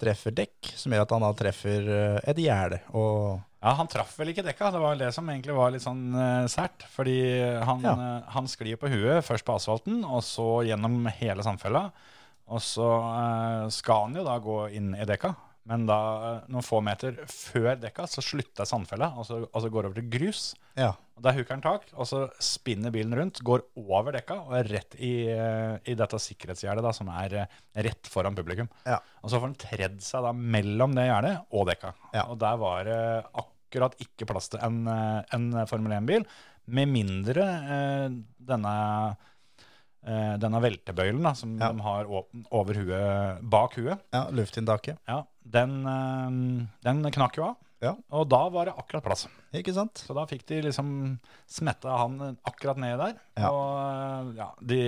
treffer dekk, som gjør at han da treffer eh, et gjerde. Og
Ja, han traff vel ikke dekka. Det var det som egentlig var litt sånn eh, sært. Fordi han,
Ja.
eh, han sklir på huet, først på asfalten, og så gjennom hele sandfella. Og så eh, skal han jo da gå inn i dekka. Men da, eh, noen få meter før dekka, så slutter sandfella, og så, og så går det over til grus.
ja,
Og Der hooker han tak, og så spinner bilen rundt, går over dekka og er rett i, eh, i dette sikkerhetsgjerdet da, som er eh, rett foran publikum.
Ja.
Og så får han tredd seg da mellom det gjerdet og dekka.
Ja.
Og der var det akkurat ikke plass til en, eh, en Formel 1-bil, med mindre eh, denne, eh, denne veltebøylen da, som
Ja.
de har åpen over huet, bak huet.
ja luftinntaket.
Ja, den, eh, den knakk jo av.
Ja.
Og da var det akkurat plass.
Ikke sant?
Så da fikk de liksom smetta han akkurat ned der.
Ja.
Og eh, ja, de,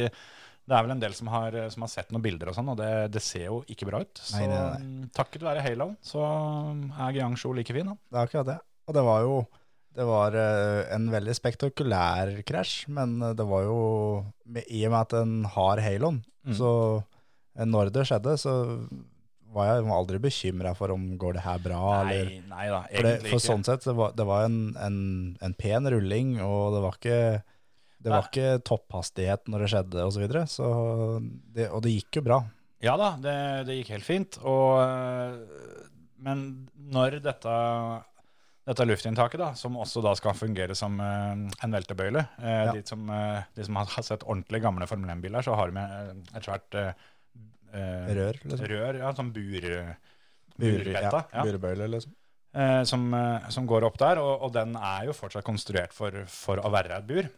det er vel en del som har, som har sett noen bilder og sånn, og det, det ser jo ikke bra ut. Så
Nei, nei, nei.
mm, takket være Halo så er Giang Shu like fin, han.
Det er akkurat det. Og det var jo det var eh, en veldig spektakulær krasj, men eh, det var jo med, I og med at en har haloen,
Mm.
så eh, når det skjedde, så var jeg aldri bekymra for om går det her bra, eller
Nei, nei da,
for, det,
egentlig
for
ikke.
sånn sett, det var, det var en, en, en pen rulling, og det var ikke det var
Nei.
ikke topphastighet når det skjedde, og så videre. Så det, og det gikk jo bra.
Ja da, det, det gikk helt fint. Og, øh, men når dette, dette luftinntaket, da, som også da skal fungere som øh, en veltebøyle øh,
Ja.
de, som, øh, de som har sett ordentlig gamle Formel 1-biler, så har de øh, et svært øh, øh,
Rør, liksom.
rør, ja, sånn bur,
Bur- ja,
burbetta, ja.
Burbøyle, liksom.
eh, som, eh, som går opp der. Og, og den er jo fortsatt konstruert for, for å være et bur.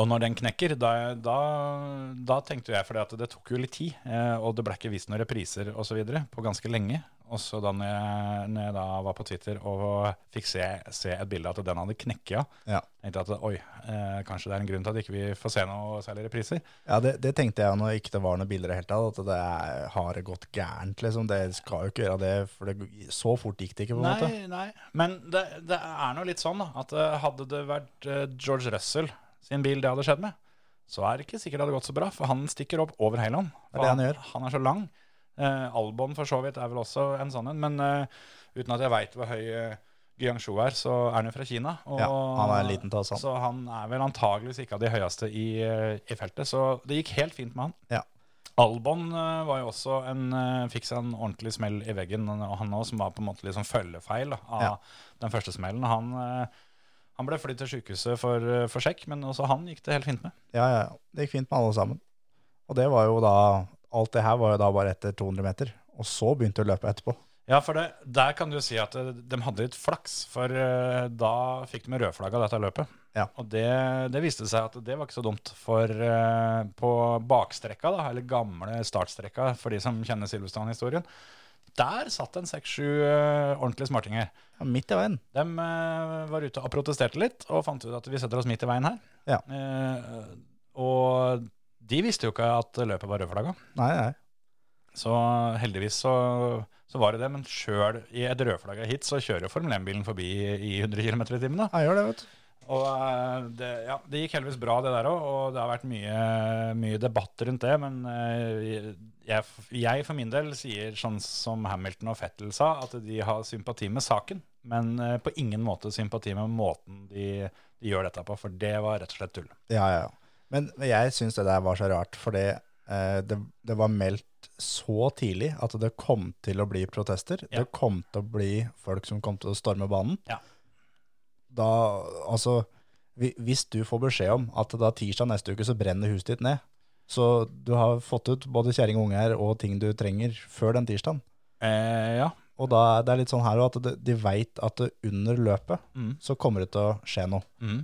Og når den knekker, da, da, da tenkte jeg, for det tok jo litt tid, eh, og det ble ikke vist noen repriser osv. på ganske lenge. Og så da når jeg, når jeg da var på Twitter og fikk se, se et bilde av at den hadde knekket av,
Ja.
tenkte jeg at oi, eh, kanskje det er en grunn til at ikke vi ikke får se noe særlig repriser.
Ja, det, det tenkte jeg når ikke det var noen bilder i det hele tatt, at det er, har gått gærent, liksom. Det skal jo ikke gjøre det, for det, så fort gikk det ikke, på en måte.
Nei, nei. Men det, det er nå litt sånn da, at eh, hadde det vært eh, George Russell sin bil det hadde skjedd med, så er det ikke sikkert det hadde gått så bra, for han stikker opp over Halon.
Det er det han gjør.
Han er så lang. Eh, Albon for så vidt er vel også en sånn en, men eh, uten at jeg veit hvor høy uh, Guangzhou er, så er han jo fra Kina. og-
Ja, han er en liten tass, han.
Så han er vel antageligvis ikke av de høyeste i, eh, i feltet, så det gikk helt fint med han.
Ja.
Albon eh, var jo også en, eh, fikk seg en ordentlig smell i veggen, og han også, som var på en måte liksom følgefeil da, av
Ja.
den første smellen. Han, eh, han ble flyttet til sykehuset for, eh, for sjekk, men også han gikk det helt fint med.
Ja, ja, ja. det gikk fint med alle sammen. Og det var jo da, alt det her var jo da bare etter 200 meter, og så begynte det å løpe etterpå.
Ja, for det, der kan du si at eh, de hadde litt flaks, for eh, da fikk de rødflagg av dette løpet.
Ja.
Og det, det viste seg at det var ikke så dumt, for eh, på bakstrekka, da, eller gamle startstrekka, for de som kjenner Silvestan-historien, der satt en 6-7 eh, ordentlige smartinger.
Ja, midt i veien.
De var ute og protesterte litt, og fant ut at vi setter oss midt i veien her.
Ja.
Eh, og de visste jo ikke at løpet var rødflagga.
Nei, nei.
Så heldigvis så, så var det det. Men sjøl i et rødflagga hit, så kjører jo Formel 1-bilen forbi i 100 km i timen, da.
Jeg gjør det, vet du.
Og eh, det, ja, det gikk heldigvis bra, det der òg, og det har vært mye, mye debatt rundt det. Men eh, jeg, jeg for min del sier sånn som Hamilton og Fettel sa, at de har sympati med saken, men eh, på ingen måte sympati med måten de, de gjør dette på, for det var rett og slett tull.
Ja, ja. Men men jeg syns det der var så rart, fordi eh, det, det var meldt så tidlig at det kom til å bli protester.
Ja.
Det kom til å bli folk som kom til å storme banen.
Ja.
Da, altså hvi- Hvis du får beskjed om at da tirsdag neste uke så brenner huset ditt ned, så du har fått ut både kjerring og unger og ting du trenger før den tirsdagen.
Eh, ja.
Og da er det litt sånn her også at de, de veit at under løpet
Mm.
så kommer det til å skje noe
Mm.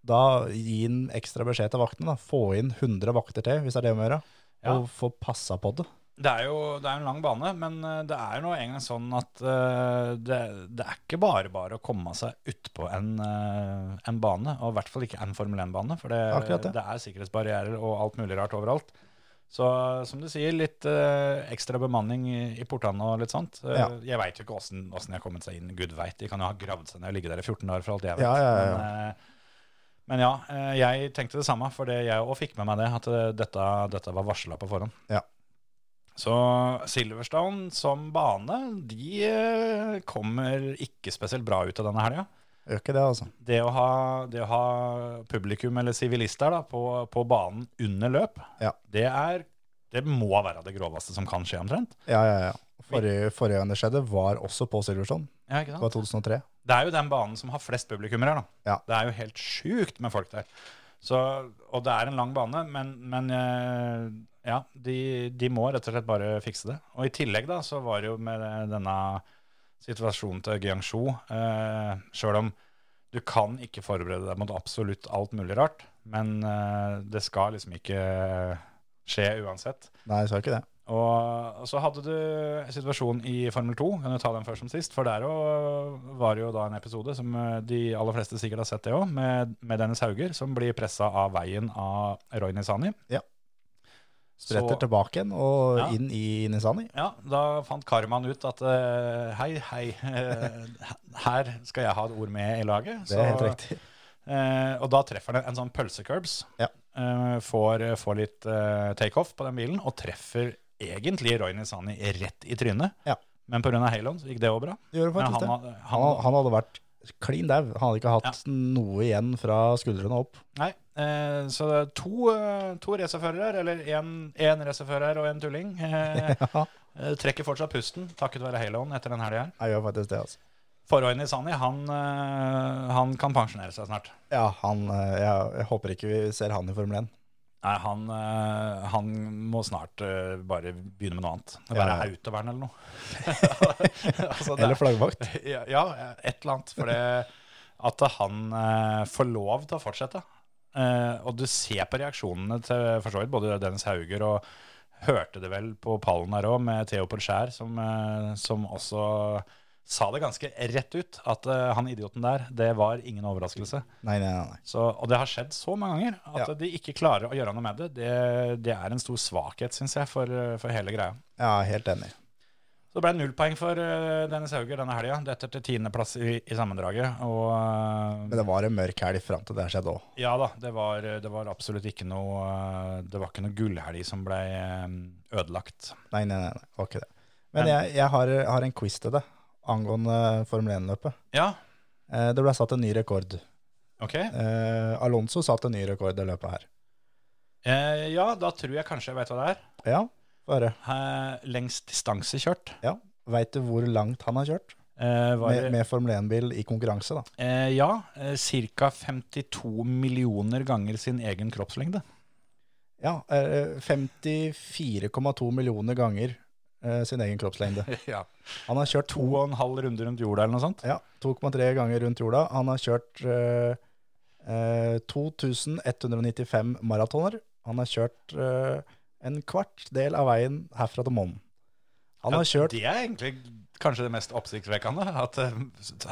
da gi inn ekstra beskjed til vaktene. Da. Få inn 100 vakter til, hvis det er det å gjøre.
Ja.
Og få passa på det.
Det er jo det er en lang bane, men eh, det er jo nå engang sånn at eh, det, det er ikke bare bare å komme seg utpå en, eh, en bane, og i hvert fall ikke en Formel 1-bane, for det,
Akkurat
det.
det.
er sikkerhetsbarrierer og alt mulig rart overalt. Så som du sier, litt eh, ekstra bemanning i, i portene og litt sånt. Eh,
Ja.
Jeg veit jo ikke åssen de har kommet seg inn. Gud veit. De kan jo ha gravd seg ned og ligge der i 14 dager for alt jeg vet.
Ja, ja, ja.
Men, eh, men ja, eh, jeg tenkte det samme, for det jeg òg fikk med meg det, at eh, dette, dette var varsla på forhånd.
Ja.
Så Silverstone som bane, de eh, kommer ikke spesielt bra ut av denne helga
Gjør ikke det, altså.
det å ha, det å ha publikum eller sivilister da, på, på banen under løp,
Ja.
det, er, det må være det groveste som kan skje omtrent.
Ja, ja, ja. Forrige, forrige gang det skjedde, var også på Silverstone. Det var 2003.
Det er jo den banen som har flest publikummere. da.
Ja.
Det er jo helt sjukt med folk der. Så, og det er en lang bane, men, men eh, ja, de, de må rett og slett bare fikse det. Og i tillegg da, så var det jo med denne situasjonen til Guangzhou, eh, sjøl om du kan ikke forberede deg mot absolutt alt mulig rart, men eh, det skal liksom ikke skje uansett.
Nei, jeg sa ikke det.
Og og så hadde du situasjonen i Formel 2, kan du ta den først som sist, for der også var det jo da en episode som eh, de aller fleste sikkert har sett det òg, med, med Dennis Hauger som blir pressa av veien av Roy Nisani.
Ja.
Så-
Spretter tilbake igjen og
Ja.
inn i Nisani.
Ja, da fant karmaen ut at eh, hei, hei, eh, her skal jeg ha et ord med i laget.
Det er helt
[LAUGHS]
riktig.
Eh, og da treffer den en sånn pølsecurbs.
Ja.
Eh, får, får litt eh, takeoff på den bilen, og treffer egentlig Roy Nisani rett i trynet.
Ja.
Men pga. haloen så gikk det òg bra.
Det gjorde
Men
faktisk
han,
det.
hadde-
Han,
han,
han hadde vært klin dau. Han hadde ikke hatt noe igjen fra skuldrene opp.
nei, eh, så det er to, eh, to racerførere, eller én racerfører og en tulling, eh,
[LAUGHS] Ja,
eh, trekker fortsatt pusten takket være haloen etter den helga her.
jeg gjør faktisk det, altså.
For Roy Nisani, han, eh, han kan pensjonere seg snart.
Ja, han, eh, jeg, jeg håper ikke vi ser han i Formel 1.
Nei, han, eh, han må snart eh, bare begynne med noe annet. Være
Ja, ja.
autovern
[LAUGHS]
eller noe. altså, det
Eller flaggvakt.
er- ja, ja, et eller annet. For det at han eh, får lov til å fortsette. Eh, og du ser på reaksjonene til for så vidt både Dennis Hauger og hørte det vel på pallen her òg, med Theo Porcher, som, eh, som også sa det ganske rett ut. At eh, han idioten der, det var ingen overraskelse.
[LAUGHS] Nei, nei, nei. nei.
Så, og det har skjedd så mange ganger at
Ja.
de ikke klarer å gjøre noe med det. Det, det er en stor svakhet, syns jeg, for, eh, for hele greia.
Ja, helt enig.
Så det ble null poeng for eh, Dennis Hauger denne helga. Dette til tiendeplass i, i sammendraget. Og eh,
Men det var en mørk helg fram til det her skjedde òg.
ja da, det var, eh, det var absolutt ikke noe eh, Det var ikke noe gullhelg som ble eh, ødelagt.
Nei, nei, nei, nei, det var ikke det. Men
Men-
jeg, jeg har, har en quiz til deg angående Formel 1-løpet.
Ja,
Eh, Det ble satt en ny rekord.
OK.
Eh, Alonso satte en ny rekord i løpet her.
Eh, ja, da tror jeg kanskje jeg veit hva det er.
Ja, bare.
Eh, lengst distanse kjørt.
Ja. Veit du hvor langt han har kjørt
Eh, var,
med, med Formel 1-bil i konkurranse? da?
Eh, ja, eh, ca. 52 millioner ganger sin egen kroppslengde.
Ja, eh, 54,2 millioner ganger eh, sin egen kroppslengde.
[LAUGHS] Ja.
Han har kjørt
To og en halv runde rundt jorda eller noe sånt.
Ja, 2,3 ganger rundt jorda. Han har kjørt eh, eh, 2195 maratoner. Han har kjørt eh, en kvart del av veien herfra til månen. Han har
Ja,
[LAUGHS] kjørt
Det er egentlig kanskje det mest oppsiktsvekkende. At eh,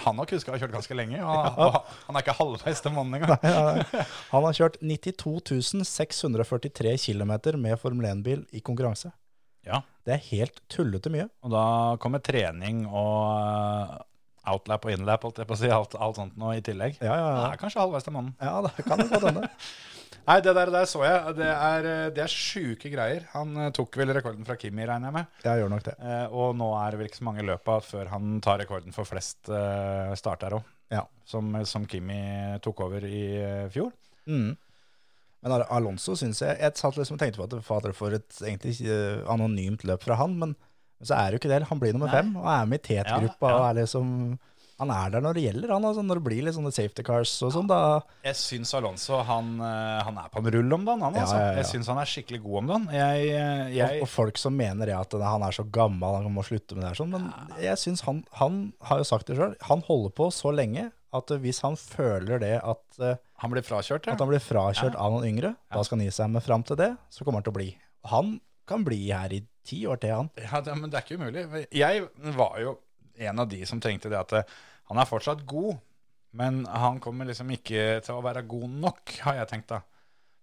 han og Kuska har kjørt ganske lenge, og, og han er ikke halvveis til månen engang.
Han har kjørt 92 643 km med Formel 1-bil i konkurranse.
Ja,
Det er helt tullete mye.
og da kommer trening og eh, outlap og inlap, holdt jeg på å si, alt, alt sånt nå i tillegg.
Ja, ja,
Han
ja.
er kanskje halvveis til månen.
Ja, det kan det godt hende.
Nei, det der, der så jeg. Det er, eh, det er sjuke greier. Han eh, tok vel rekorden fra Kimi, regner jeg med.
Ja, gjør nok det.
Eh, og nå er det vel ikke så mange løpa før han tar rekorden for flest eh, starter òg.
Ja.
Som, som Kimi tok over i eh, fjor.
Mm. Men Al- Alonso synes jeg Jeg satt liksom og tenkte på at fader for et egentlig eh, anonymt løp fra han, men så er det jo ikke det. Han blir nummer
Nei.
fem og er med i tetgruppa
Ja, ja.
og er liksom Han er der når det gjelder, han. Altså, når det blir litt sånne safety cars og sånn, da
Jeg syns Alonso han, eh, han er på en rull om dagen. Han,
Ja,
altså.
ja, ja.
Jeg syns han er skikkelig god om dagen. Jeg, eh,
og,
jeg,
og folk som mener ja, at han er så gammel, han må slutte med det her sånn, men jeg syns han, han har jo sagt det sjøl. Han holder på så lenge at eh, hvis han føler det at, eh,
han blir frakjørt,
at
ja.
han blir frakjørt av noen yngre, da skal han gi seg. Men fram til det, så kommer han til å bli. Han kan bli her i ti år til, han.
ja det, men det er ikke umulig. Jeg var jo en av de som tenkte det at eh, han er fortsatt god, men han kommer liksom ikke til å være god nok, har jeg tenkt da.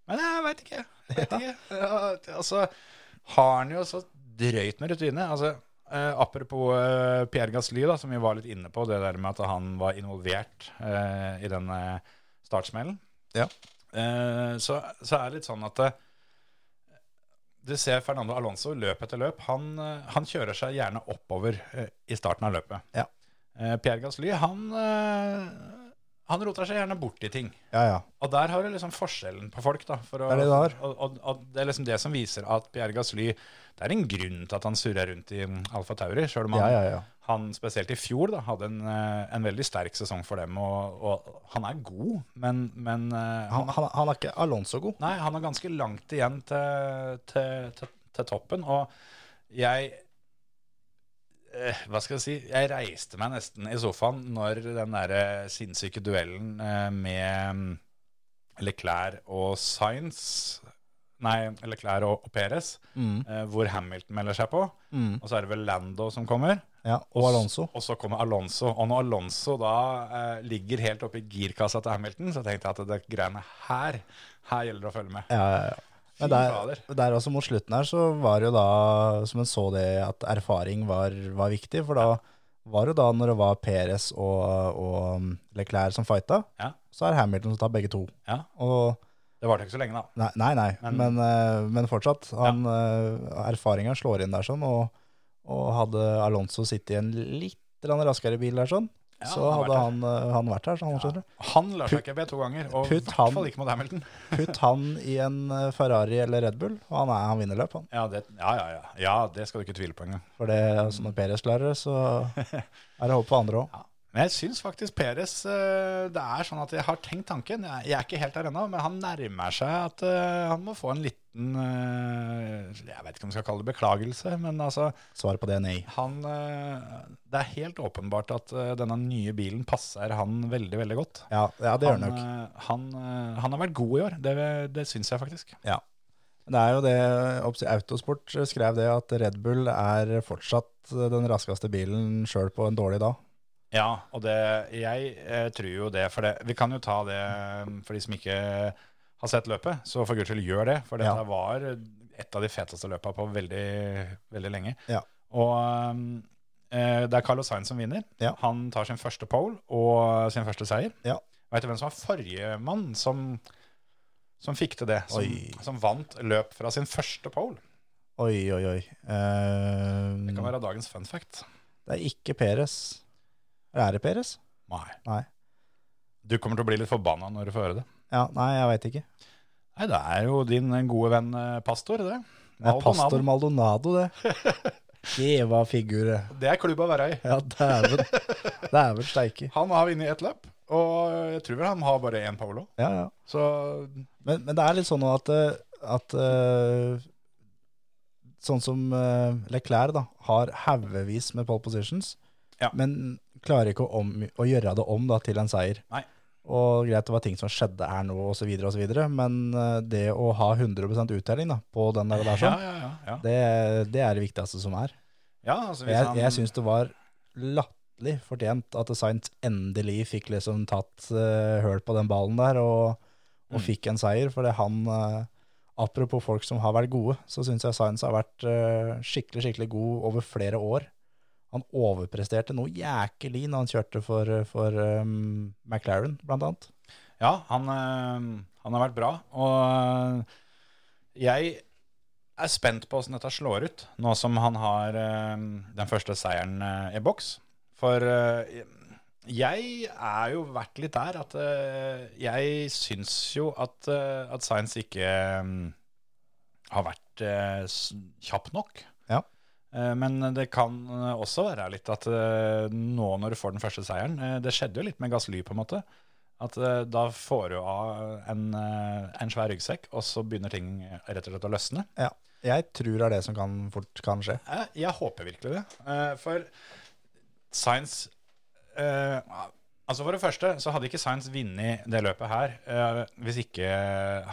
Men jeg veit ikke. Vet ikke. Ja, altså, har han jo så drøyt med rutine. Altså, eh, apropos eh, Pierre Gasly, da, som vi var litt inne på, det der med at han var involvert eh, i den eh, startsmellen,
Ja.
eh, så, så er det litt sånn at eh, du ser Fernando Alonso løp etter løp. Han, eh, han kjører seg gjerne oppover eh, i starten av løpet.
Ja.
Eh, Pierre Gasly, han, eh, han roter seg gjerne bort i ting.
Ja, ja.
Og der har du liksom forskjellen på folk, da. For å,
Det er det det har.
Og, og, og det er liksom det som viser at Pierre Gasly Det er en grunn til at han surrer rundt i Alfa Tauri, sjøl om han,
Ja, ja, ja.
han spesielt i fjor da, hadde en, eh, en veldig sterk sesong for dem. Og, og han er god, men, men eh,
Han, han, han er ikke Alonso god.
Nei, han har ganske langt igjen til, til, til, til toppen, og jeg eh, hva skal jeg si? Jeg reiste meg nesten i sofaen når den der eh, sinnssyke duellen eh, med mm, Leclerc og Sainz Nei, Leclerc og, og Perez, eh, hvor Hamilton melder seg på.
Mm.
Og så er det vel Lando som kommer.
Ja, og Alonso.
Og så kommer Alonso. Og når Alonso da eh, ligger helt oppe i girkassa til Hamilton, så tenkte jeg at det greiene her, her gjelder det å følge med.
Ja, ja, ja. Men
Fy
der,
fader.
der også mot slutten her så var det jo da, som en så det, at erfaring var, var viktig. For da var det jo da når det var Perez og, og um, Leclerc som fighta,
Ja.
så er Hamilton som tar begge to.
Ja.
Og
Det varte ikke så lenge, da.
Nei, nei, nei. Men, men, eh, men fortsatt. Han, eh, Erfaringa slår inn der sånn, og, og hadde Alonso sittet i en litt grann raskere bil der sånn,
Ja,
så
han
hadde
har
han, eh, han vært der. Sånn, skjønner du.
Han lar seg ikke be to ganger, og i
putt
hvert
han-
fall ikke mot Hamilton.
Putt han i en eh, Ferrari eller Red Bull, og han, er, han vinner løp, han.
Ja, det, ja, ja, ja. ja, det skal du ikke tvile på engang.
For det, altså, når Perez klarer det,
[LAUGHS]
så er det håp for andre òg.
Ja. Men jeg syns faktisk Peres Det er sånn at jeg har tenkt tanken. Jeg, jeg er ikke helt der ennå, men han nærmer seg at eh, han må få en liten eh, Jeg vet ikke om vi skal kalle det beklagelse, men altså
Svaret på det er nei.
han, eh, Det er helt åpenbart at eh, denne nye bilen passer han veldig, veldig godt.
Ja, ja det gjør han
han,
nok.
eh, han, eh, han har vært god i år. Det, det syns jeg faktisk.
Ja. Det er jo det oppsi- Autosport eh, skrev det, at Red Bull er fortsatt eh, den raskeste bilen sjøl på en dårlig dag.
Ja, og det, jeg eh, tror jo det, for det, vi kan jo ta det um, for de som ikke har sett løpet, så for guds skyld gjør det, for det
Ja.
var et av de feteste løpene på veldig, veldig lenge.
Ja.
Og um, eh, det er Carlos Sainz som vinner.
Ja.
Han tar sin første pole og sin første seier.
Ja.
Vet du hvem som var forrige mann som, som fikk til det? Som,
Oi.
som vant løp fra sin første pole?
Oi, oi, oi. Ehm,
Det kan
det,
være dagens fun fact.
er ikke Peres. Eller er det Peres?
Nei.
Nei.
Du kommer til å bli litt forbanna når du får høre det.
Ja, nei, jeg veit ikke.
Nei, det er jo din gode venn eh, pastor, det.
Det er
Maldonado.
pastor Maldonado,
[LAUGHS]
det. Det var figur. det.
Det er klubba Værøy.
Ja, dæven.
[LAUGHS]
Dæven steike.
Han har vunnet ett løp, og jeg tror vel han har bare én polo.
Ja, ja.
Så
Men, men det er litt sånn nå at, eh, at eh, Sånn som eh, Leclerc da, har haugevis med pole positions,
Ja.
men klarer ikke å, om, å gjøre det om da, til en seier.
Nei.
Og greit, det var ting som skjedde her nå, osv., osv., men eh, det å ha 100 uttelling da, på den der, der
ja,
sånn,
ja, ja. ja.
det, det er det viktigste som er.
ja altså, hvis
Jeg,
han-
jeg syns det var latterlig fortjent at Sainz endelig fikk liksom tatt uh, høl på den ballen der og, og
Mm.
fikk en seier. For det han eh, Apropos folk som har vært gode, så syns jeg Sainz har vært eh, skikkelig skikkelig god over flere år. Han overpresterte noe jækelig når han kjørte for, for eh, McLaren, blant annet.
Ja, han, eh, han har vært bra. Og eh, jeg er spent på åssen dette slår ut, nå som han har eh, den første seieren eh, i boks. For eh, jeg er jo vært litt der at eh, jeg syns jo at, eh, at Science ikke eh, har vært eh, s- kjapp nok.
Ja.
Eh, Men det kan eh, også være litt at eh, nå når du får den første seieren eh, Det skjedde jo litt med Gassly, på en måte. At eh, da får du av en, eh, en svær ryggsekk, og så begynner ting rett og slett å løsne.
Ja. Jeg tror det er det som kan, fort kan skje.
Jeg, jeg håper virkelig det. Eh, For Science Altså For det første så hadde ikke Science vunnet det løpet her eh, hvis ikke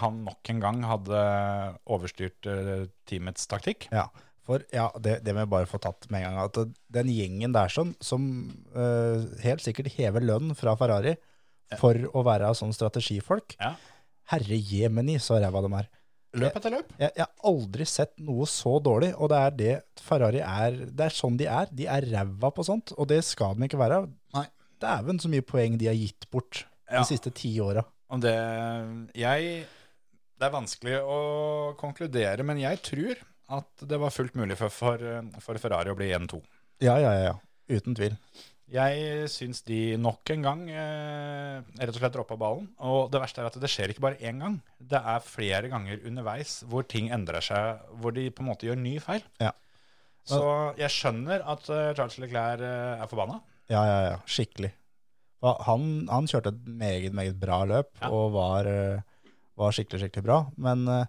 han nok en gang hadde overstyrt eh, teamets taktikk.
Ja, for ja, det, det må jeg bare få tatt med en gang. At den gjengen der sånn, som eh, helt sikkert hever lønn fra Ferrari for å være sånn strategifolk,
Ja.
herre jemeni, så ræva de er.
Løp etter løp.
Jeg, jeg har aldri sett noe så dårlig, og det er det Ferrari er. Det er sånn de er. De er ræva på sånt, og det skal de ikke være.
Nei.
Dæven så mye poeng de har gitt bort
Ja.
de siste ti åra.
Om det Jeg Det er vanskelig å konkludere, men jeg tror at det var fullt mulig for, for, for Ferrari å bli 1-2.
Ja, ja, ja, ja. Uten tvil.
Jeg syns de nok en gang eh, rett og slett droppa ballen. Og det verste er at det skjer ikke bare én gang. Det er flere ganger underveis hvor ting endrer seg, hvor de på en måte gjør ny feil.
Ja.
Så jeg skjønner at eh, Charles Leclerc eh, er forbanna.
Ja, ja, ja. Skikkelig. Hva- Han, han kjørte et meget, meget bra løp
Ja.
og var, eh, var skikkelig, skikkelig bra. Men eh,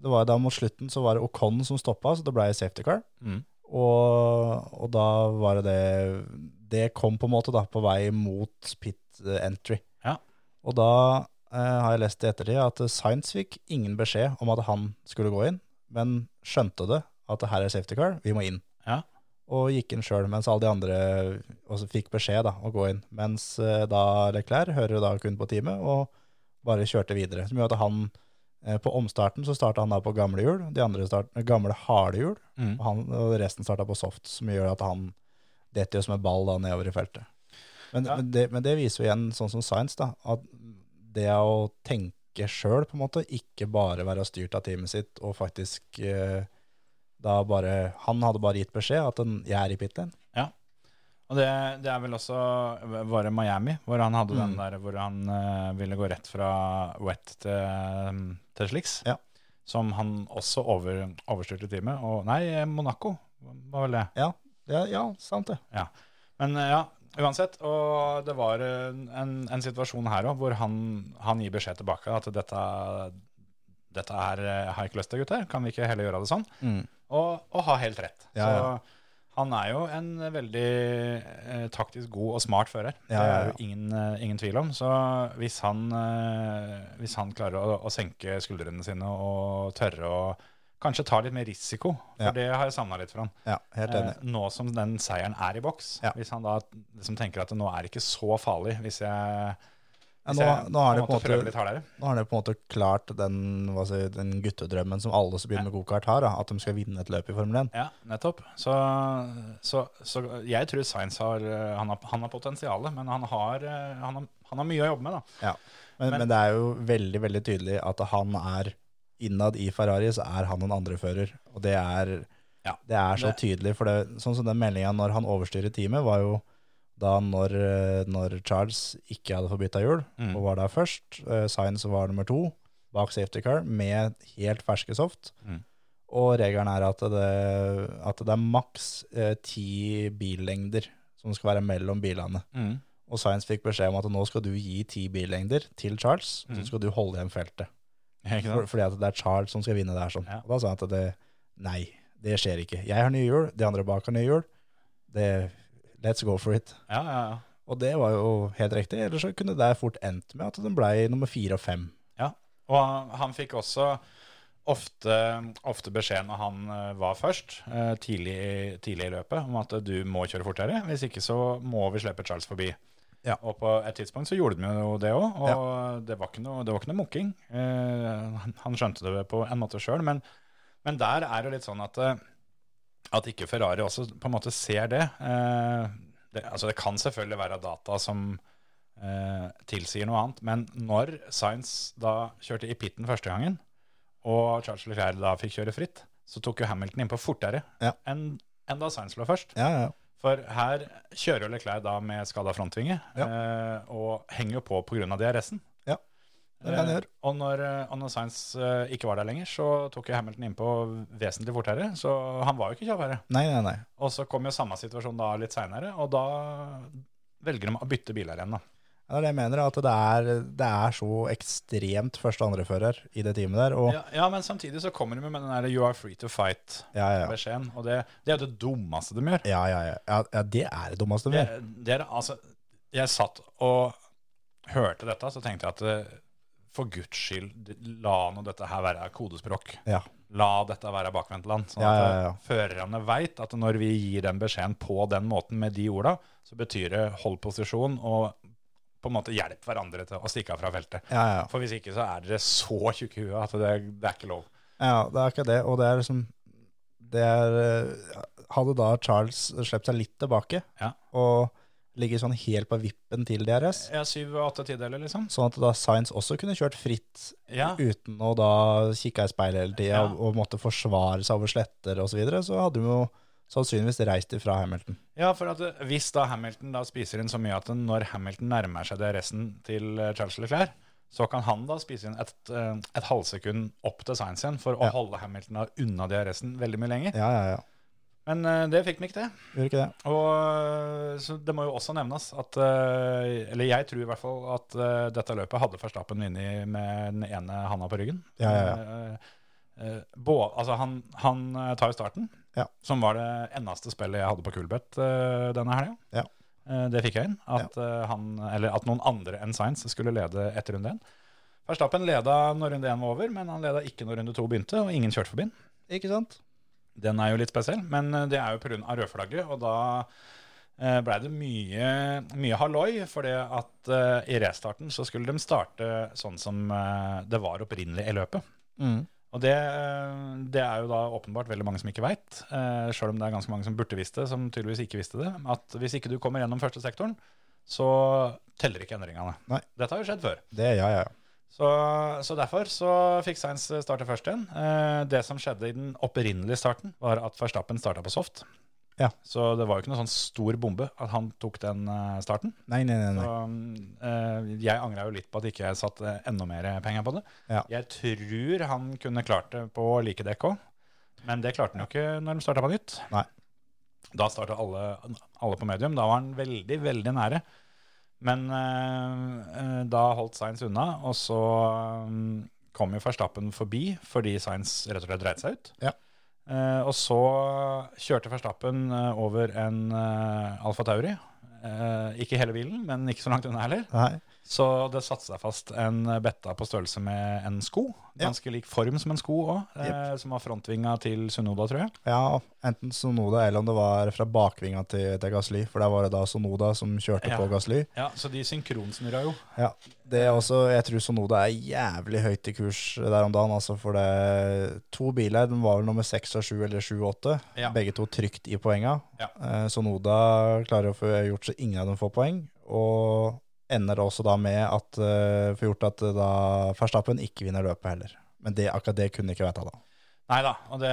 det var da mot slutten så var det Ocon som stoppa, så det ble safety car.
Mm.
Og, og da var det det Det kom på en måte da på vei mot pit eh, entry.
Ja.
Og da eh, har jeg lest i ettertid at Science fikk ingen beskjed om at han skulle gå inn, men skjønte det at her er safety car, vi må inn.
Ja.
Og gikk inn sjøl, mens alle de andre også fikk beskjed da, å gå inn. Mens eh, da Leclerc hører jo da kun på teamet og bare kjørte videre. Som gjør at han eh, på omstarten så starta han da på gamle hjul, de andre start, eh, gamle harde hjul. Og, han, og resten starta på soft, som gjør at han detter jo som en ball da nedover i feltet. Men,
Ja.
men, det, men det viser jo igjen, sånn som science, da, at det å tenke sjøl, på en måte, ikke bare være styrt av teamet sitt, og faktisk eh, da bare Han hadde bare gitt beskjed at den, 'jeg er i pit lane'.
Og det, det er vel også Var det Miami, hvor han hadde den
Mm.
der hvor han eh, ville gå rett fra wet til, eh, til slicks?
Ja.
Som han også over, overstyrte teamet. Og nei, eh, Monaco var vel det.
Ja, ja, sant det.
Men eh, ja, uansett. Og det var eh, en, en situasjon her òg hvor han, han gir beskjed tilbake at dette, dette er eh, Jeg har ikke lyst til, gutter. Kan vi ikke heller gjøre det sånn? Og, og har helt rett.
Ja, ja.
Så han er jo en veldig eh, taktisk god og smart fører.
Ja, ja,
Det er jo ingen, eh, ingen tvil om. Så hvis han, eh, hvis han klarer å, å senke skuldrene sine og tørre å kanskje ta litt mer risiko, for
Ja.
det har jeg savna litt fra han.
Ja, helt enig.
Eh, nå som den seieren er i boks,
Ja.
hvis han da liksom tenker at det nå er ikke så farlig hvis jeg,
Ja,
hvis
nå,
jeg
nå har det på en
prøver
måte
litt hardere.
Nå har de på en måte klart den, hva skal jeg si, den guttedrømmen som alle som begynner med gokart har, da, at de skal vinne et løp i Formel 1.
Ja, nettopp. Så, så, så jeg tror Sainz har eh, Han har, han har potensialet, men han har, eh, han, har, han har mye å jobbe med, da.
Men,
Men-
men, det er jo veldig veldig tydelig at han er innad i Ferrari, så er han en andrefører. Og det er,
Ja,
det er så
det-
tydelig. For det, sånn som den meldinga når han overstyrer teamet, var jo da når, eh, når Charles ikke hadde fått bytta hjul,
Mm.
og var der først. Eh, Sainz var nummer to bak safety car med helt ferske soft.
Mm.
Og regelen er at det, at det er maks eh, ti billengder som skal være mellom bilene.
Mm.
Og Sainz fikk beskjed om at nå skal du gi ti billengder til Charles, og
Mhm.
så skal du holde igjen feltet.
Ikke
For,
sant?
fordi at det er Charles som skal vinne der. Sånn.
Ja.
Og da sa han at det, nei, det skjer ikke. Jeg har nye hjul, de andre bak har nye hjul. Det, let's go for it.
Ja, ja, ja.
Og det var jo helt riktig, ellers så kunne det fort endt med at den ble nummer fire og fem.
Og han, han fikk også ofte, ofte beskjed når han eh, var først, eh, tidlig, i- tidlig i løpet, om at eh, du må kjøre fortere. Hvis ikke så må vi slippe Charles forbi.
Ja.
Og på et tidspunkt så gjorde de jo det òg, og det var ikke noe, det var ikke noe mukking. Eh, han- han skjønte det på en måte sjøl, men, men der er det litt sånn at, eh, at ikke Ferrari også på en måte ser det. Eh, det altså det kan selvfølgelig være data som eh, tilsier noe annet. Men når Sainz da kjørte i pitten første gangen, og Charles Leclerc da fikk kjøre fritt, så tok jo Hamilton innpå fortere
Ja.
enn enn da Sainz lå først.
Ja, ja.
For her kjører jo Leclerc da med skada frontvinge, eh, og henger jo på pga. DRS-en.
Ja, det er det han gjør.
og når, eh, og når Sainz eh, ikke var der lenger, så tok jo Hamilton innpå vesentlig fortere. Så han var jo ikke kjappere.
Nei, nei, nei.
Og så kom jo samme situasjon da litt seinere, og da velger de å bytte biler igjen, da.
Det er det jeg mener, at det er, det er så ekstremt første og andrefører i det teamet der. Og, ja,
Ja, ja, men samtidig så kommer de med den der 'you are free to fight'-beskjeden.
ja, ja.
Og det, det er jo det dummeste de gjør.
Ja, ja, ja. ja, ja det er det dummeste vi
Det,
gjør.
det er, altså, jeg satt og hørte dette, så tenkte jeg at eh, for guds skyld, la nå dette her være kodespråk.
Ja.
La dette være bakvendtland. Sånn
Ja,
at
ja, ja.
eh, førerne veit at når vi gir den beskjeden på den måten med de orda, så betyr det hold posisjon og på en måte hjelp hverandre til å stikke av fra feltet.
Ja, ja.
For hvis ikke så er dere så tjukke i huet at det, det er ikke lov.
Ja, det er ikke det. Og det er liksom det er, eh, Hadde da Charles sluppet seg litt tilbake
Ja.
og ligget sånn helt på vippen til DRS,
Ja, syv og åtte tideler, liksom.
sånn at da Science også kunne kjørt fritt
Ja.
uten å da kikke i speilet hele tida
Ja.
og, og måtte forsvare seg over sletter osv., så, videre, så hadde de jo sannsynligvis reist ifra Hamilton.
ja, for at eh, hvis da Hamilton da spiser inn så mye at når Hamilton nærmer seg DRS-en til eh, Charles Leclerc, så kan han da spise inn et, eh, et halvsekund opp til Sainz igjen for å
Ja.
holde Hamilton da unna DRS-en veldig mye lenger.
Ja, ja, ja.
Men eh, det fikk han ikke til.
Gjorde ikke det?
Og eh, så Det må jo også nevnes at eh, Eller jeg tror i hvert fall at eh, dette løpet hadde Verstappen vunnet med den ene handa på ryggen.
Ja, ja,
Eh, eh, bå- altså han, han eh, tar jo starten,
Ja.
som var det eneste spillet jeg hadde på Kulbeth eh, denne helga.
Ja.
Eh, det fikk jeg inn. At, eh, han, eller at noen andre enn Science skulle lede etter runde én. Verstappen leda når runde én var over, men han leda ikke når runde to begynte, og ingen kjørte forbi. han.
Ikke sant?
Den er jo litt spesiell, men eh, det er jo pga. rødflagget. Og da eh, blei det mye, mye halloi, for det at eh, i restarten så skulle de starte sånn som eh, det var opprinnelig i løpet.
Mm.
Og det, eh, det er jo da åpenbart veldig mange som ikke veit, sjøl om det er ganske mange som burde visst det, som tydeligvis ikke visste det, at hvis ikke du kommer gjennom første sektoren, så teller ikke endringene.
Nei.
Dette har jo skjedd før.
Det, ja, ja, ja.
Så, så derfor så fikk Sainz starte først igjen. Eh, det som skjedde i den opprinnelige starten, var at Verstappen starta på soft.
Ja.
Så det var jo ikke noen sånn stor bombe at han tok den eh, starten.
Nei, nei, nei.
Så,
nei.
eh, jeg angra jo litt på at ikke jeg satte enda mer penger på det.
Ja.
Jeg tror han kunne klart det på like dekk òg, men det klarte han jo ikke når de starta på nytt.
Nei.
Da starta alle, alle på medium. Da var han veldig, veldig nære. Men eh, eh, da holdt Sainz unna, og så mm, kom jo Verstappen forbi fordi Sainz rett og slett dreide seg ut.
Ja.
Eh, og så kjørte Verstappen eh, over en eh, Alfa Tauri. Eh, ikke hele bilen, men ikke så langt unna heller.
nei.
Så det satte seg fast en eh, betta på størrelse med en sko. Ganske lik form som en sko òg, eh, som var frontvinga til Sunoda, tror jeg.
Ja, enten Sonoda eller om det var fra bakvinga til, til Gasly, for der var det da Sonoda som kjørte
Ja.
på Gasly.
Ja, Så de synkronsnurra jo.
Ja, det er også, jeg tror Sonoda er jævlig høyt i kurs der om dagen, altså for det to biler, den var vel nummer 6 og 7 eller 7 og 8,
Ja.
begge to trygt i poenga.
Ja.
Eh, Sonoda klarer å få gjort så ingen av dem får poeng, og ender også da med at, eh, får gjort at eh, da Verstappen ikke vinner løpet heller. Men det, akkurat det kunne ikke veta da.
Nei da. Og det,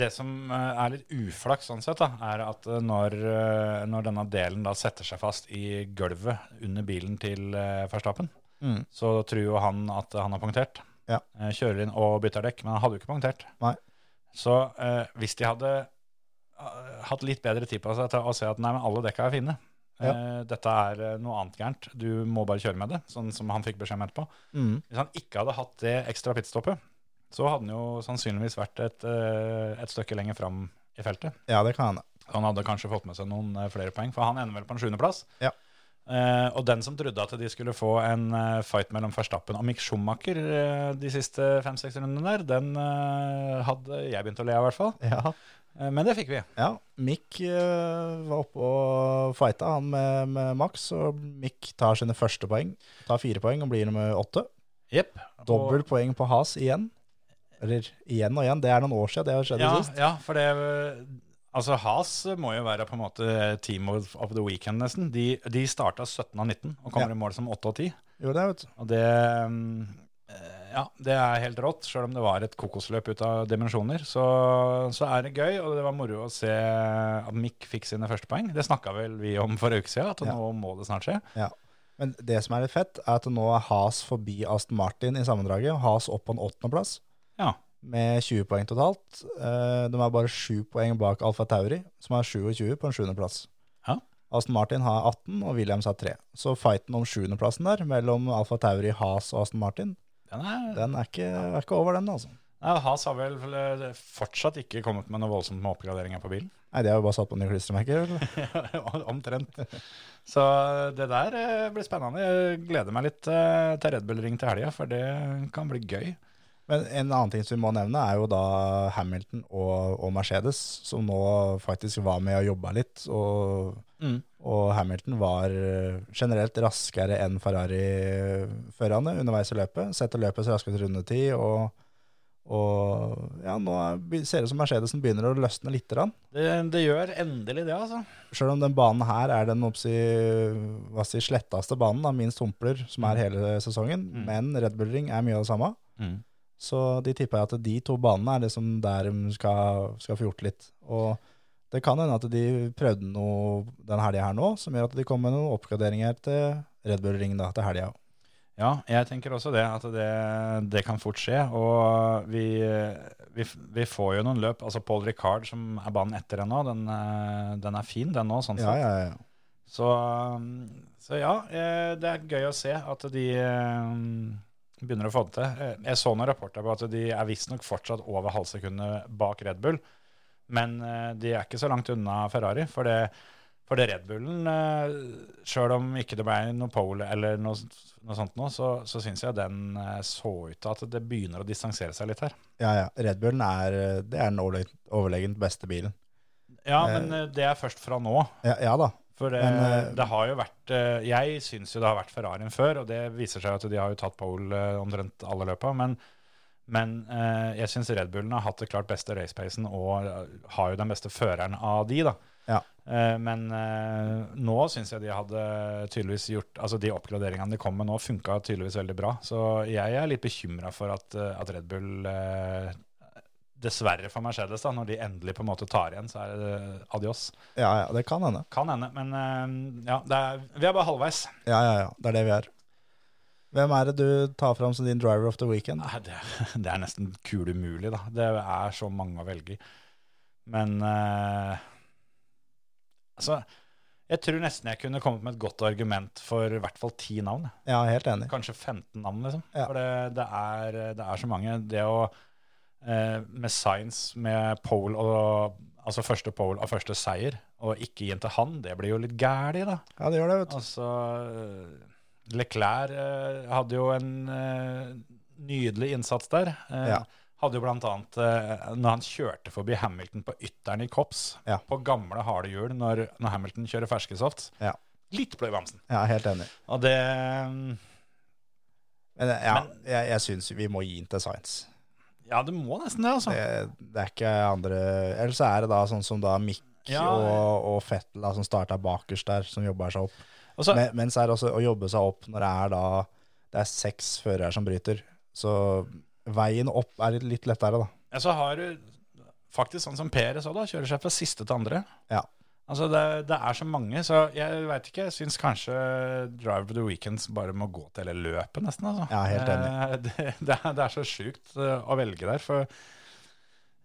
det som eh, er litt uflaks sånn sett, da, er at eh, når, eh, når denne delen da setter seg fast i gulvet under bilen til eh, Verstappen,
Mm.
så tror jo han at han har punktert.
Ja.
Eh, Kjører inn og bytter dekk, men han hadde jo ikke punktert.
Nei.
Så eh, hvis de hadde eh, hatt litt bedre tid på seg til å se at nei, men alle dekka er fine,
Ja.
eh, dette er eh, noe annet gærent, du må bare kjøre med det, sånn som han fikk beskjed om etterpå.
Mm.
Hvis han ikke hadde hatt det ekstra pitstoppet, så hadde han jo sannsynligvis vært et, eh, et stykke lenger fram i feltet.
Ja, det kan hende.
Han hadde kanskje fått med seg noen eh, flere poeng, for han ender vel på en sjuendeplass.
Ja.
Eh, og den som trodde at de skulle få en eh, fight mellom Verstappen og Mick Schumacher eh, de siste fem-seks rundene der, den eh, hadde jeg begynt å le av, i hvert fall.
Ja.
Eh, men det fikk vi.
Ja, Mick eh, var oppe og fighta han med, med Max, og Mick tar sine første poeng. Tar fire poeng og blir nummer åtte.
Jepp.
Dobbel poeng på Has igjen. Eller igjen og igjen, det er noen år siden det har skjedd
Ja,
sist.
ja, for det Altså, Has må jo være på en måte team of, of the weekend, nesten. De, de starta 17 av 19 og kommer i
Ja.
mål som 8 av 10.
Jo, det, vet du.
Og det mm, eh, ja, det er helt rått, sjøl om det var et kokosløp ut av dimensjoner. Så, så er det gøy, og det var moro å se at Mick fikk sine første poeng. Det snakka vel vi om for en uke siden, at
Ja.
nå må det snart skje.
Men det som er litt fett, er at nå er Has forbi Aston Martin i sammendraget. og Has opp på en åttendeplass
Ja.
med 20 poeng totalt. Eh, De er bare 7 poeng bak Alfa Tauri, som har 27 på en sjuendeplass.
Ja.
Aston Martin har 18, og Williams har 3. Så fighten om sjuendeplassen der, mellom Alfa Tauri, Has og Aston Martin,
Den er,
den er ikke, er ikke over, den, altså.
Nei, Haas har vel eh, fortsatt ikke kommet med noe voldsomt med oppgraderinger på [LAUGHS] bilen.
Nei, det har jo bare satt på nye klistremerker. vel?
[LAUGHS] Omtrent. Så det der eh, blir spennende. Jeg gleder meg litt eh, til Red Bull Ring til helga, for det kan bli gøy.
Men en annen ting som vi må nevne, er jo da Hamilton og, og Mercedes, som nå faktisk var med og jobba litt. Og,
Mm.
og Hamilton var eh, generelt raskere eh, enn Ferrari-førerne underveis i løpet. Setter løpets raskeste rundetid og, Og ja, nå er- ser det ut som Mercedesen begynner å løsne litt.
Det, det gjør endelig det, altså.
Sjøl om den banen her er den oppsi, hva si, sletteste banen, da, minst humpler, som er hele sesongen.
Mm.
Men Red Bull Ring er mye av det samme. Så de tipper jeg at de to banene er liksom der de skal, skal få gjort litt. Og det kan hende at de prøvde noe den helga her nå, som gjør at de kom med noen oppgraderinger til Red Bull Ring da, til helga.
Ja, jeg tenker også det, at det, det kan fort skje. Og vi, vi, f- vi får jo noen løp. Altså Paul Ricard, som er banen etter ennå, den, eh, den er fin, den nå, sånn
Ja,
sett.
ja, ja.
Så, um, så ja, eh, det er gøy å se at de eh, begynner å få det til. Eh, Jeg så noen rapporter på at de er visstnok fortsatt over halvsekundet bak Red Bull, men eh, de er ikke så langt unna Ferrari. For det, for det Red Bullen, eh, sjøl om ikke det ble noe pole eller noe, noe sånt nå, så, så syns jeg den eh, så ut til at det begynner å distansere seg litt her.
ja, ja. Red Bullen er, det er den overleg- overlegent beste bilen.
Ja,
Eh.
men eh, det er først fra nå.
Ja, ja da.
For det,
Men, eh,
det har jo vært eh, Jeg syns jo det har vært Ferrarien før, og det viser seg at de har jo tatt pole eh, omtrent alle løpa. Men, men eh, jeg syns Red Bullen har hatt det klart beste racepacen og eh, har jo den beste føreren av de, da.
Ja.
Eh, men eh, nå syns jeg de hadde tydeligvis gjort Altså de oppgraderingene de kom med nå, funka tydeligvis veldig bra. Så jeg er litt bekymra for at, eh, at Red Bull eh, Dessverre for Mercedes, da, når de endelig på en måte tar igjen, så er det eh, adios.
Ja, ja, det kan hende.
Kan hende, men eh, ja, det er, vi er bare halvveis.
Ja, ja, ja. Det er det vi er. Hvem er det du tar fram som din driver of the weekend?
Nei, det, det er [LAUGHS] nesten kul umulig, da. Det er så mange å velge i. Men eh, altså, jeg tror nesten jeg kunne kommet med et godt argument for i hvert fall ti navn. jeg.
Ja, helt enig.
Kanskje 15 navn, liksom.
Ja.
For det, det, er, det er så mange. Det å eh, Med science, med pole og Altså første pole og første seier, og ikke gi den til han, det blir jo litt gæli, da.
Ja, det gjør det, vet du.
Altså, eh, Leclerc eh, hadde jo en eh, nydelig innsats der. Eh,
Ja.
Hadde jo blant annet eh, når han kjørte forbi Hamilton på ytteren i Kops,
Ja.
på gamle harde hjul, når, når Hamilton kjører ferskesoft.
Ja.
Litt blø i bamsen.
Ja, helt enig.
Og det mm,
Men ja, jeg, jeg syns vi må gi inn til Science.
Ja, det må nesten det, altså.
Det, det er ikke andre Eller så er det da sånn som da Mick
Ja.
og, og Fettel da, som starta bakerst der, som jobber seg opp.
Og så-
Men, men så er det også å jobbe seg opp når det er da Det er seks førere som bryter. Så veien opp er litt, litt lettere, da.
Ja, så har du faktisk sånn som Peres òg, da. Kjører seg fra siste til andre.
Ja.
Altså, det, det er så mange, så jeg veit ikke. Jeg syns kanskje Drive the Weekends bare må gå til hele løpet, nesten. Altså.
Ja, helt enig.
Eh, [LAUGHS] Det, det, er, det er så sjukt eh, å velge der, for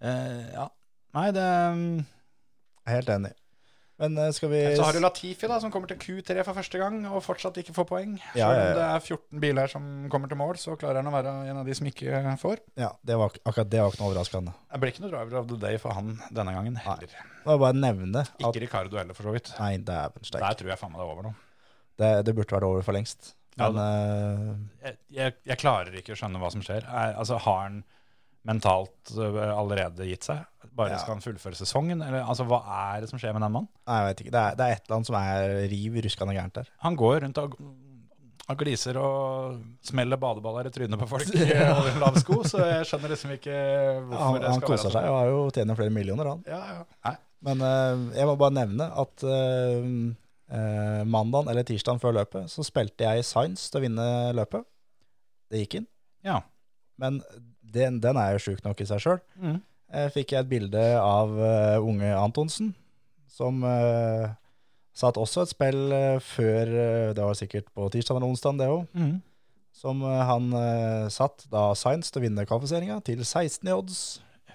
eh, Ja. Nei, det mm,
Jeg er helt enig. Men eh, skal vi
Så har du Latifi, da, som kommer til Q3 for første gang og fortsatt ikke får poeng. Selv
Ja,
om
ja, ja.
det er 14 biler som kommer til mål, så klarer han å være en av de som ikke får.
Ja, det var, ak- akkurat det var ikke noe overraskende.
Det blir ikke noe driver of the day for han denne gangen heller.
Det var bare å nevne at
Ikke Ricardo heller, for så vidt.
Nei, dæven steike.
Der tror jeg faen meg det er over nå.
Det, det burde vært over for lengst.
Ja,
Men eh,
Jeg, jeg, jeg klarer ikke å skjønne hva som skjer. Er, altså, har han mentalt øh, allerede gitt seg? Bare
Ja.
skal han fullføre sesongen? Eller, altså, hva er det som skjer med den mannen?
nei, jeg vet ikke. Det er, det er et eller annet som er riv ruskende gærent der.
Han går rundt og, og gliser og smeller badeballer i trynet på folk
[LAUGHS]
i over en lav sko, så jeg skjønner liksom ikke hvorfor
Han,
det
han
skal være
koser
sånn.
seg og har jo tjener flere millioner, han.
Ja, ja. Nei.
Men eh, jeg må bare nevne at eh, eh, mandagen eller tirsdagen før løpet, så spilte jeg Science til å vinne løpet. Det gikk inn.
Ja.
Men den, den er jo sjuk nok i seg sjøl.
Mm.
Eh, Fikk jeg et bilde av eh, unge Antonsen, som eh, satt også et spill eh, før eh, Det var sikkert på tirsdag eller onsdag, det òg.
Mm.
Som eh, han eh, satt da Science til å vinne kvalifiseringa, til 16 i odds.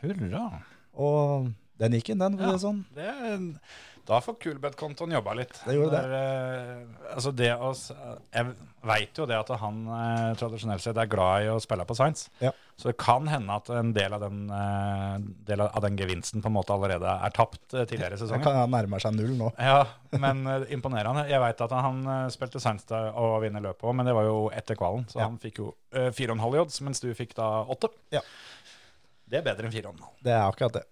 Hurra.
Og den gikk inn, den. for å si
Ja.
det Sånn.
Det, er- da får Kulbeth-kontoen jobba litt.
Det gjorde det.
eh, altså det å, s- jeg veit jo det at han eh, tradisjonelt sett er glad i å spille på science.
Ja.
Så det kan hende at en del av den, eh, del av av den gevinsten på en måte allerede er tapt eh, tidligere i
Han
sesongen.
kan- han nærmer seg null nå.
Ja, men eh, imponerende. Jeg veit at han eh, spilte science da og vinner løpet òg, men det var jo etter kvalen. Så
Ja.
han fikk jo eh, fire og en halv i odds, mens du fikk da åtte.
Ja.
Det er bedre enn fire og en halv.
Det er akkurat det.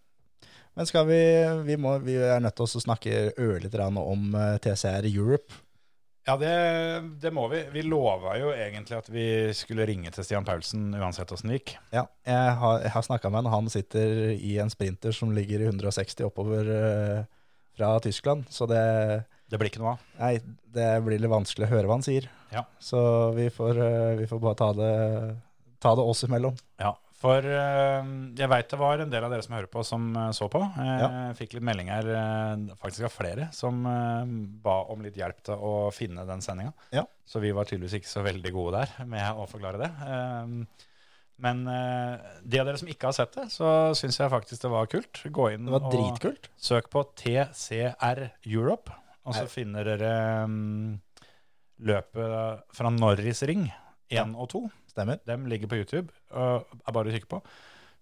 Men skal vi, vi, må, vi er nødt til å snakke ørlite grann om eh, TCR Europe.
Ja, det, det må vi. Vi lova jo egentlig at vi skulle ringe til Stian Paulsen uansett åssen det gikk.
Ja, jeg har, jeg har snakka med han, og han sitter i en sprinter som ligger i 160 oppover eh, fra Tyskland. Så det,
Det blir ikke noe av.
nei, det blir litt vanskelig å høre hva han sier.
Ja.
Så vi får, eh, vi får bare ta det, ta det oss imellom.
Ja, For eh, jeg veit det var en del av dere som hører på, som eh, så på. Jeg fikk litt meldinger, eh, faktisk av flere, som eh, ba om litt hjelp til å finne den sendinga.
Ja.
Så vi var tydeligvis ikke så veldig gode der med å forklare det. Eh, men eh, de av dere som ikke har sett det, så syns jeg faktisk det var kult. Gå inn
Det var
og
dritkult.
Søk på TCR Europe, og så
Nei.
finner dere mm, løpet fra Norris Ring 1
Ja.
og 2.
Stemmer.
Dem ligger på YouTube. og er bare å kikke på.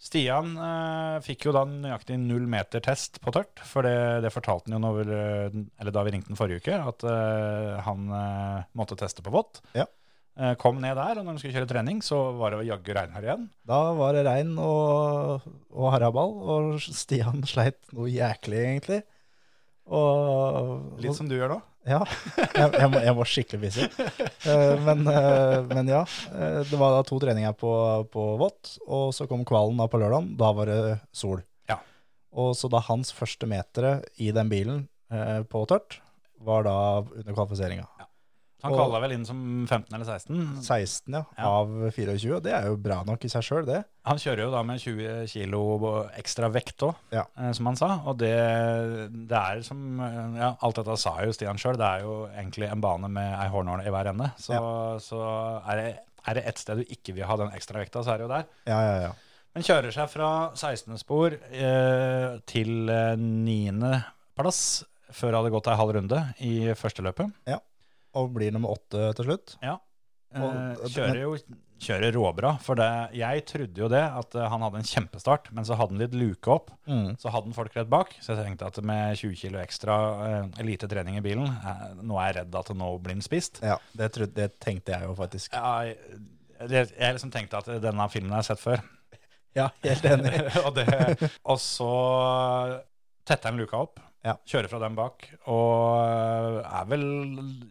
Stian eh, fikk jo da nøyaktig null meter-test på tørt, for det, det fortalte han jo når, vi- eller da vi ringte den forrige uke, at eh, han eh, måtte teste på vått.
Ja.
Eh, kom ned der, og når han skulle kjøre trening, så var det jaggu regnvær igjen.
Da var det regn og, og haraball, og Stian sleit noe jæklig, egentlig. Og,
Litt som du gjør nå.
Ja, jeg, jeg, må, jeg var skikkelig busy. Eh, Men, eh, men ja, eh, det var da to treninger på, på vått, og så kom kvalen da på lørdagen. Da var det sol.
Ja.
Og så da hans første metere i den bilen eh, på tørt, var da under kvalifiseringa.
Han
Og-
kvala vel inn som 15 eller 16.
16 ja,
Ja.
av 24, og det er jo bra nok i seg sjøl, det.
Han kjører jo da med 20 kilo ekstra vekt òg,
Ja.
som han sa. Og det, det er som eh, ja, Alt dette sa jo Stian sjøl, det er jo egentlig en bane med ei hårnål i hver ende. Så, så er det er det ett sted du ikke vil ha den ekstra vekta, så er det jo der.
Ja, ja, ja.
Men kjører seg fra 16. spor eh, til 9. plass før det hadde gått ei halv runde i første løpet.
Og blir nummer åtte til slutt. Og-
Eh, kjører jo kjører råbra, for det, jeg trodde jo det, at eh, han hadde en kjempestart, men så hadde han litt luke opp.
Mm.
Så hadde han folk rett bak, så jeg tenkte at med 20 kilo ekstra eh, lite trening i bilen, eh, nå er jeg redd at nå blir han spist.
Ja, det, trodde, det tenkte jeg jo faktisk.
Jeg, jeg, jeg liksom tenkte at denne filmen har jeg sett før.
Ja, helt enig.
[LAUGHS] og, det, og så tetter han luka opp,
Ja.
kjører fra den bak, og er vel,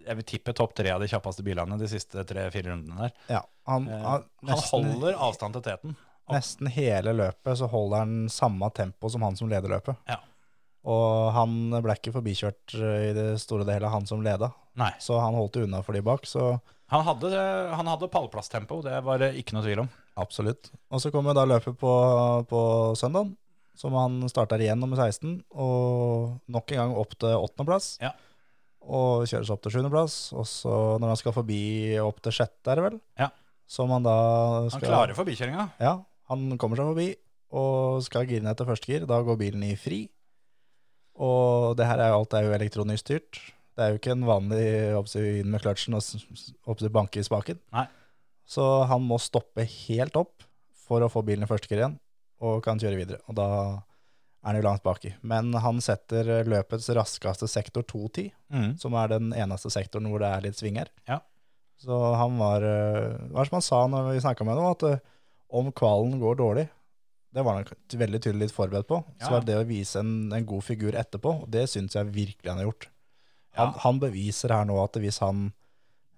jeg vil tippe topp tre av de kjappeste bilene de siste tre-fire rundene der.
Ja, han,
Eh,
han,
Han
nesten-
holder avstand til teten. opp.
Nesten hele løpet så holder han samme tempo som han som leder løpet.
Ja.
Og han ble ikke forbikjørt eh, i det store og det hele, han som leda.
Nei,
Så han holdt jo unna for de bak, så
han hadde, han hadde pallplasstempo, det var det ikke noe tvil om.
absolutt. Og så kom jo da løpet på, på søndagen, som han starta igjen nummer 16, og nok en gang opp til åttendeplass.
Ja.
Og kjøres opp til sjuendeplass, og så når han skal forbi opp til sjette, er det vel?
Ja.
Som han da skal
Han klarer forbikjøringa.
Ja, han kommer seg forbi og skal gire ned til første gir. Da går bilen i fri. Og det her er jo alt er jo elektronisk styrt. Det er jo ikke en vanlig oppsi inn med kløtsjen og s- s- oppsi banke i spaken.
Nei.
Så han må stoppe helt opp for å få bilen i første gir igjen, og kan kjøre videre. Og da er han jo langt baki. Men han setter løpets raskeste sektor 2.10
Mm.
som er den eneste sektoren hvor det er litt sving her.
Ja.
Så han var eh, Hva er det som han sa når vi snakka med ham, at eh, om kvalen går dårlig Det var han k- veldig tydelig litt forberedt på.
Ja.
Så var det det å vise en, en god figur etterpå, og det syns jeg virkelig han har gjort. Han,
Ja.
han beviser her nå at hvis han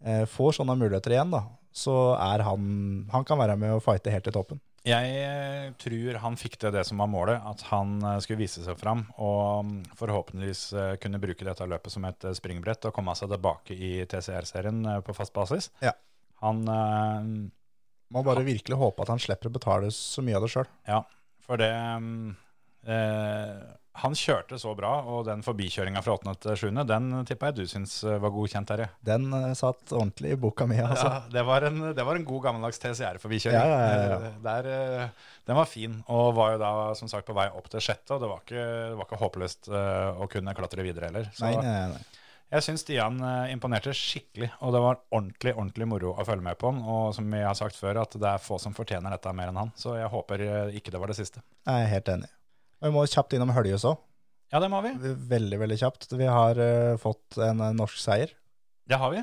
eh, får sånne muligheter igjen, da, så er han Han kan være med og fighte helt til toppen.
Jeg eh, tror han fikk til det som var målet, at han eh, skulle vise seg fram og mm, forhåpentligvis eh, kunne bruke dette løpet som et eh, springbrett og komme seg tilbake i TCR-serien eh, på fast basis.
Ja.
Han, eh,
Må bare virkelig håpe at han slipper å betale så mye av det sjøl.
for det mm, eh, Han kjørte så bra, og den forbikjøringa fra 8. til 7., den tippa jeg du syns eh, var godkjent, Terje.
Den eh, satt ordentlig i boka mi, altså.
Ja, det, var en, det var en god gammeldags TCR-forbikjøring.
Ja, ja, ja, ja.
Der, eh, Den var fin, og var jo da som sagt på vei opp til sjette, og det var ikke, det var ikke håpløst eh, å kunne klatre videre heller. Så
Nei, nei, nei.
jeg syns Stian eh, imponerte skikkelig, og det var ordentlig ordentlig moro å følge med på han. Og som jeg har sagt før, at det er få som fortjener dette mer enn han, så jeg håper eh, ikke det var det siste.
Jeg er helt enig. Og Vi må kjapt innom Høljes òg.
Ja, det må vi.
Veldig, veldig kjapt. Vi har eh, fått en eh, norsk seier.
Det har vi.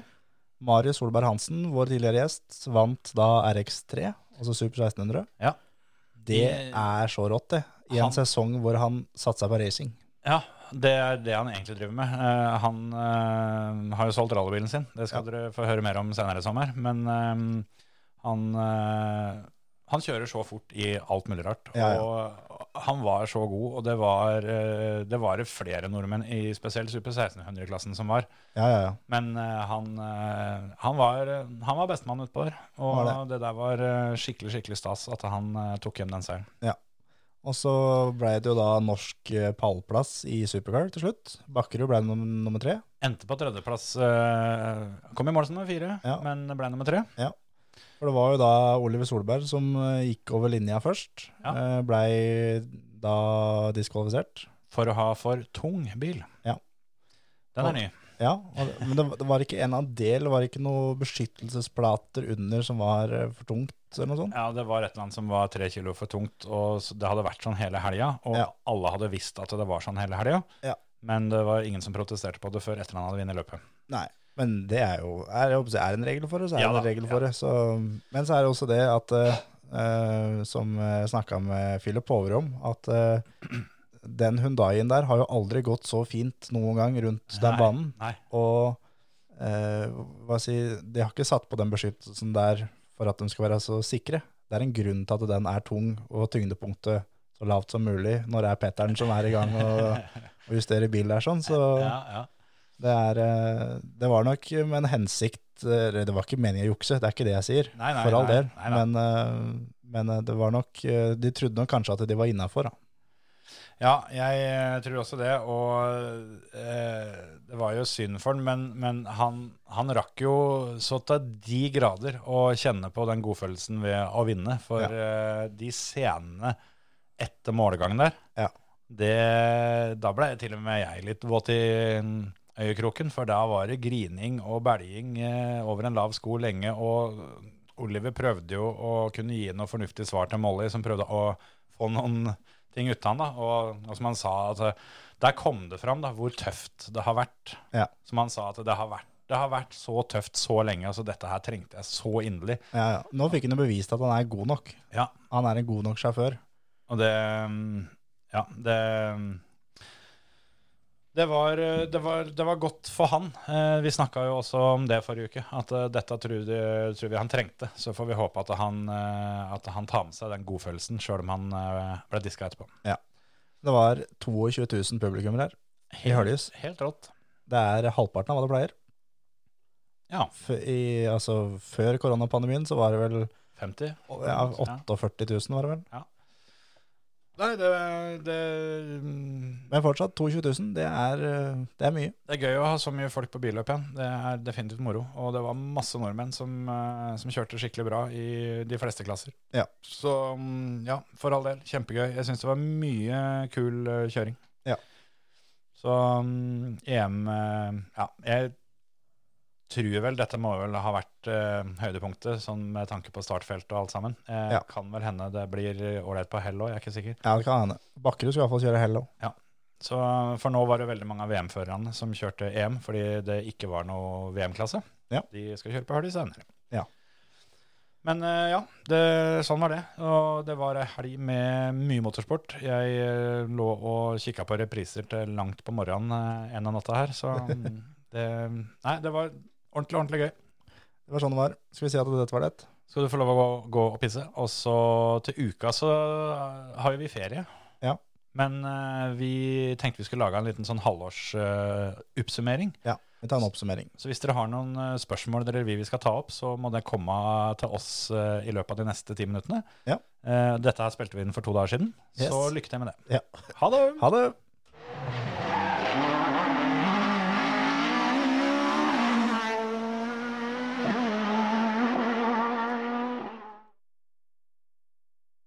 Marius Solberg Hansen, vår tidligere gjest, vant da RX3, altså Super 1600.
Ja.
Det
I-
er så rått, det. I en
Han-
sesong hvor han satsa på racing.
Ja, det er det han egentlig driver med. Eh, han eh, har jo solgt rallybilen sin. Det skal dere få høre mer om senere i sommer. Men eh, han, eh, han kjører så fort i alt mulig rart.
Ja, ja.
Og han var så god, og det var, eh, det var det flere nordmenn i spesielt Super 1600-klassen som var.
Ja, ja, ja.
Men eh, han, eh, han, var, han var bestemann utpå der. Og det.
Var
der var eh, skikkelig skikkelig stas at han eh, tok hjem den seieren.
Og så ble det jo da norsk eh, pallplass i Supercar til slutt. Bakkerud ble num nummer tre.
Endte på tredjeplass. eh, kom i mål som nummer fire,
Ja.
men ble nummer tre.
For det var jo da Oliver Solberg som eh, gikk over linja først.
Ja.
Eh, Blei da diskvalifisert.
For å ha for tung bil.
Ja.
Den
Og-
er ny.
Ja, og det- men det, det var ikke en av del, det var ikke noe beskyttelsesplater under som var eh, for tungt eller noe sånt.
Ja, det var et eller annet som var tre kilo for tungt, og s- det hadde vært sånn hele helga. Og
Ja.
alle hadde visst at det var sånn hele helga,
Ja.
men det var ingen som protesterte på det før etter han hadde vunnet løpet.
Nei, men det er jo er, jeg håper å si, er det en regel for det, så er
Ja
det
da,
en regel for det. Så, men så er det også det at, eh, eh, som jeg snakka med Philip Over om, at eh, den Hundaien der har jo aldri gått så fint noen gang rundt den
Nei,
banen.
nei.
Og eh, hva si, de har ikke satt på den beskyttelsen der for at de skal være så sikre. Det er en grunn til at den er tung, og tyngdepunktet så lavt som mulig når det er Petteren som er i gang og, og justerer bil der sånn. Så
Ja, ja.
det, er, eh, det var nok med en hensikt eh, Det var ikke meningen å jukse, det er ikke det jeg sier.
Nei, nei,
for all
nei,
del.
nei, nei.
Men, eh, men eh, det var nok eh, De trodde nok kanskje at de var innafor.
Ja, jeg eh, tror også det, og eh, det var jo synd for han, men, men han, han rakk jo så til de grader å kjenne på den godfølelsen ved å vinne, for
Ja.
eh, de scenene etter målgangen der,
Ja.
det, da ble til og med jeg litt våt i øyekroken, for da var det grining og belging eh, over en lav sko lenge, og Oliver prøvde jo å kunne gi noe fornuftig svar til Molly, som prøvde å få noen ting ut av han da, og, og som han sa at eh, der kom det fram da, hvor tøft det har vært.
Ja.
Som han sa at det har vært, det har vært så tøft så lenge, altså dette her trengte jeg så inderlig.
Ja, ja. Nå fikk han jo bevist at han er god nok.
Ja.
Han er en god nok sjåfør.
Og det, mm, ja, det, mm, det var, eh, det var, det var godt for han. Eh, Vi snakket jo også om det forrige uke, at eh, dette tror, de- tror vi han trengte. Så får vi håpe at han, eh, at han tar med seg den godfølelsen, selv om han eh, ble diska etterpå.
Det var 22 000 publikummere her. I Høljes.
Helt rått.
Det er halvparten av hva det pleier.
Ja.
F i, altså, før koronapandemien så var det vel
50.
ja, 48 000, var det vel.
Nei, det, det, mm,
Men fortsatt 22 000, det er, eh, det er mye.
det er gøy å ha så mye folk på billøp igjen. Det er definitivt moro. Og det var masse nordmenn som, eh, som kjørte skikkelig bra i de fleste klasser.
Ja.
Så mm, ja, for all del, kjempegøy. Jeg syns det var mye kul eh, kjøring.
Ja.
Så mm, EM eh, Ja, jeg tror vel dette må vel ha vært eh, høydepunktet, sånn med tanke på startfelt og alt sammen. Eh,
Ja.
Kan vel hende det blir eh, ålreit på hell òg, jeg er ikke sikker.
Ja, det kan hende. Bakkerud skal iallfall kjøre Hello.
Så For nå var det veldig mange av VM-førerne som kjørte EM, fordi det ikke var noe VM-klasse.
Ja.
De skal kjøre på Hurley senere.
Ja.
Men eh, ja, det, sånn var det. Og det var ei helg med mye motorsport. Jeg eh, lå og kikka på repriser til langt på morgenen eh, en av natta her,
[LAUGHS]
så mm, det Nei, det var ordentlig, ordentlig gøy.
Det var sånn det var. Skal vi si at dette var det?
Skal du få lov å gå, gå og pisse. Og så til uka så eh, har jo vi ferie.
Ja.
Men eh, vi tenkte vi skulle lage en liten sånn halvårsoppsummering.
Vi tar en oppsummering.
så hvis dere har noen eh, spørsmål dere vil vi skal ta opp, så må det komme til oss eh, i løpet av de neste ti minuttene.
Ja.
Eh, dette her spilte vi inn for to dager siden,
Yes.
så lykke til med det.
Ja.
Ha det!
Ha det!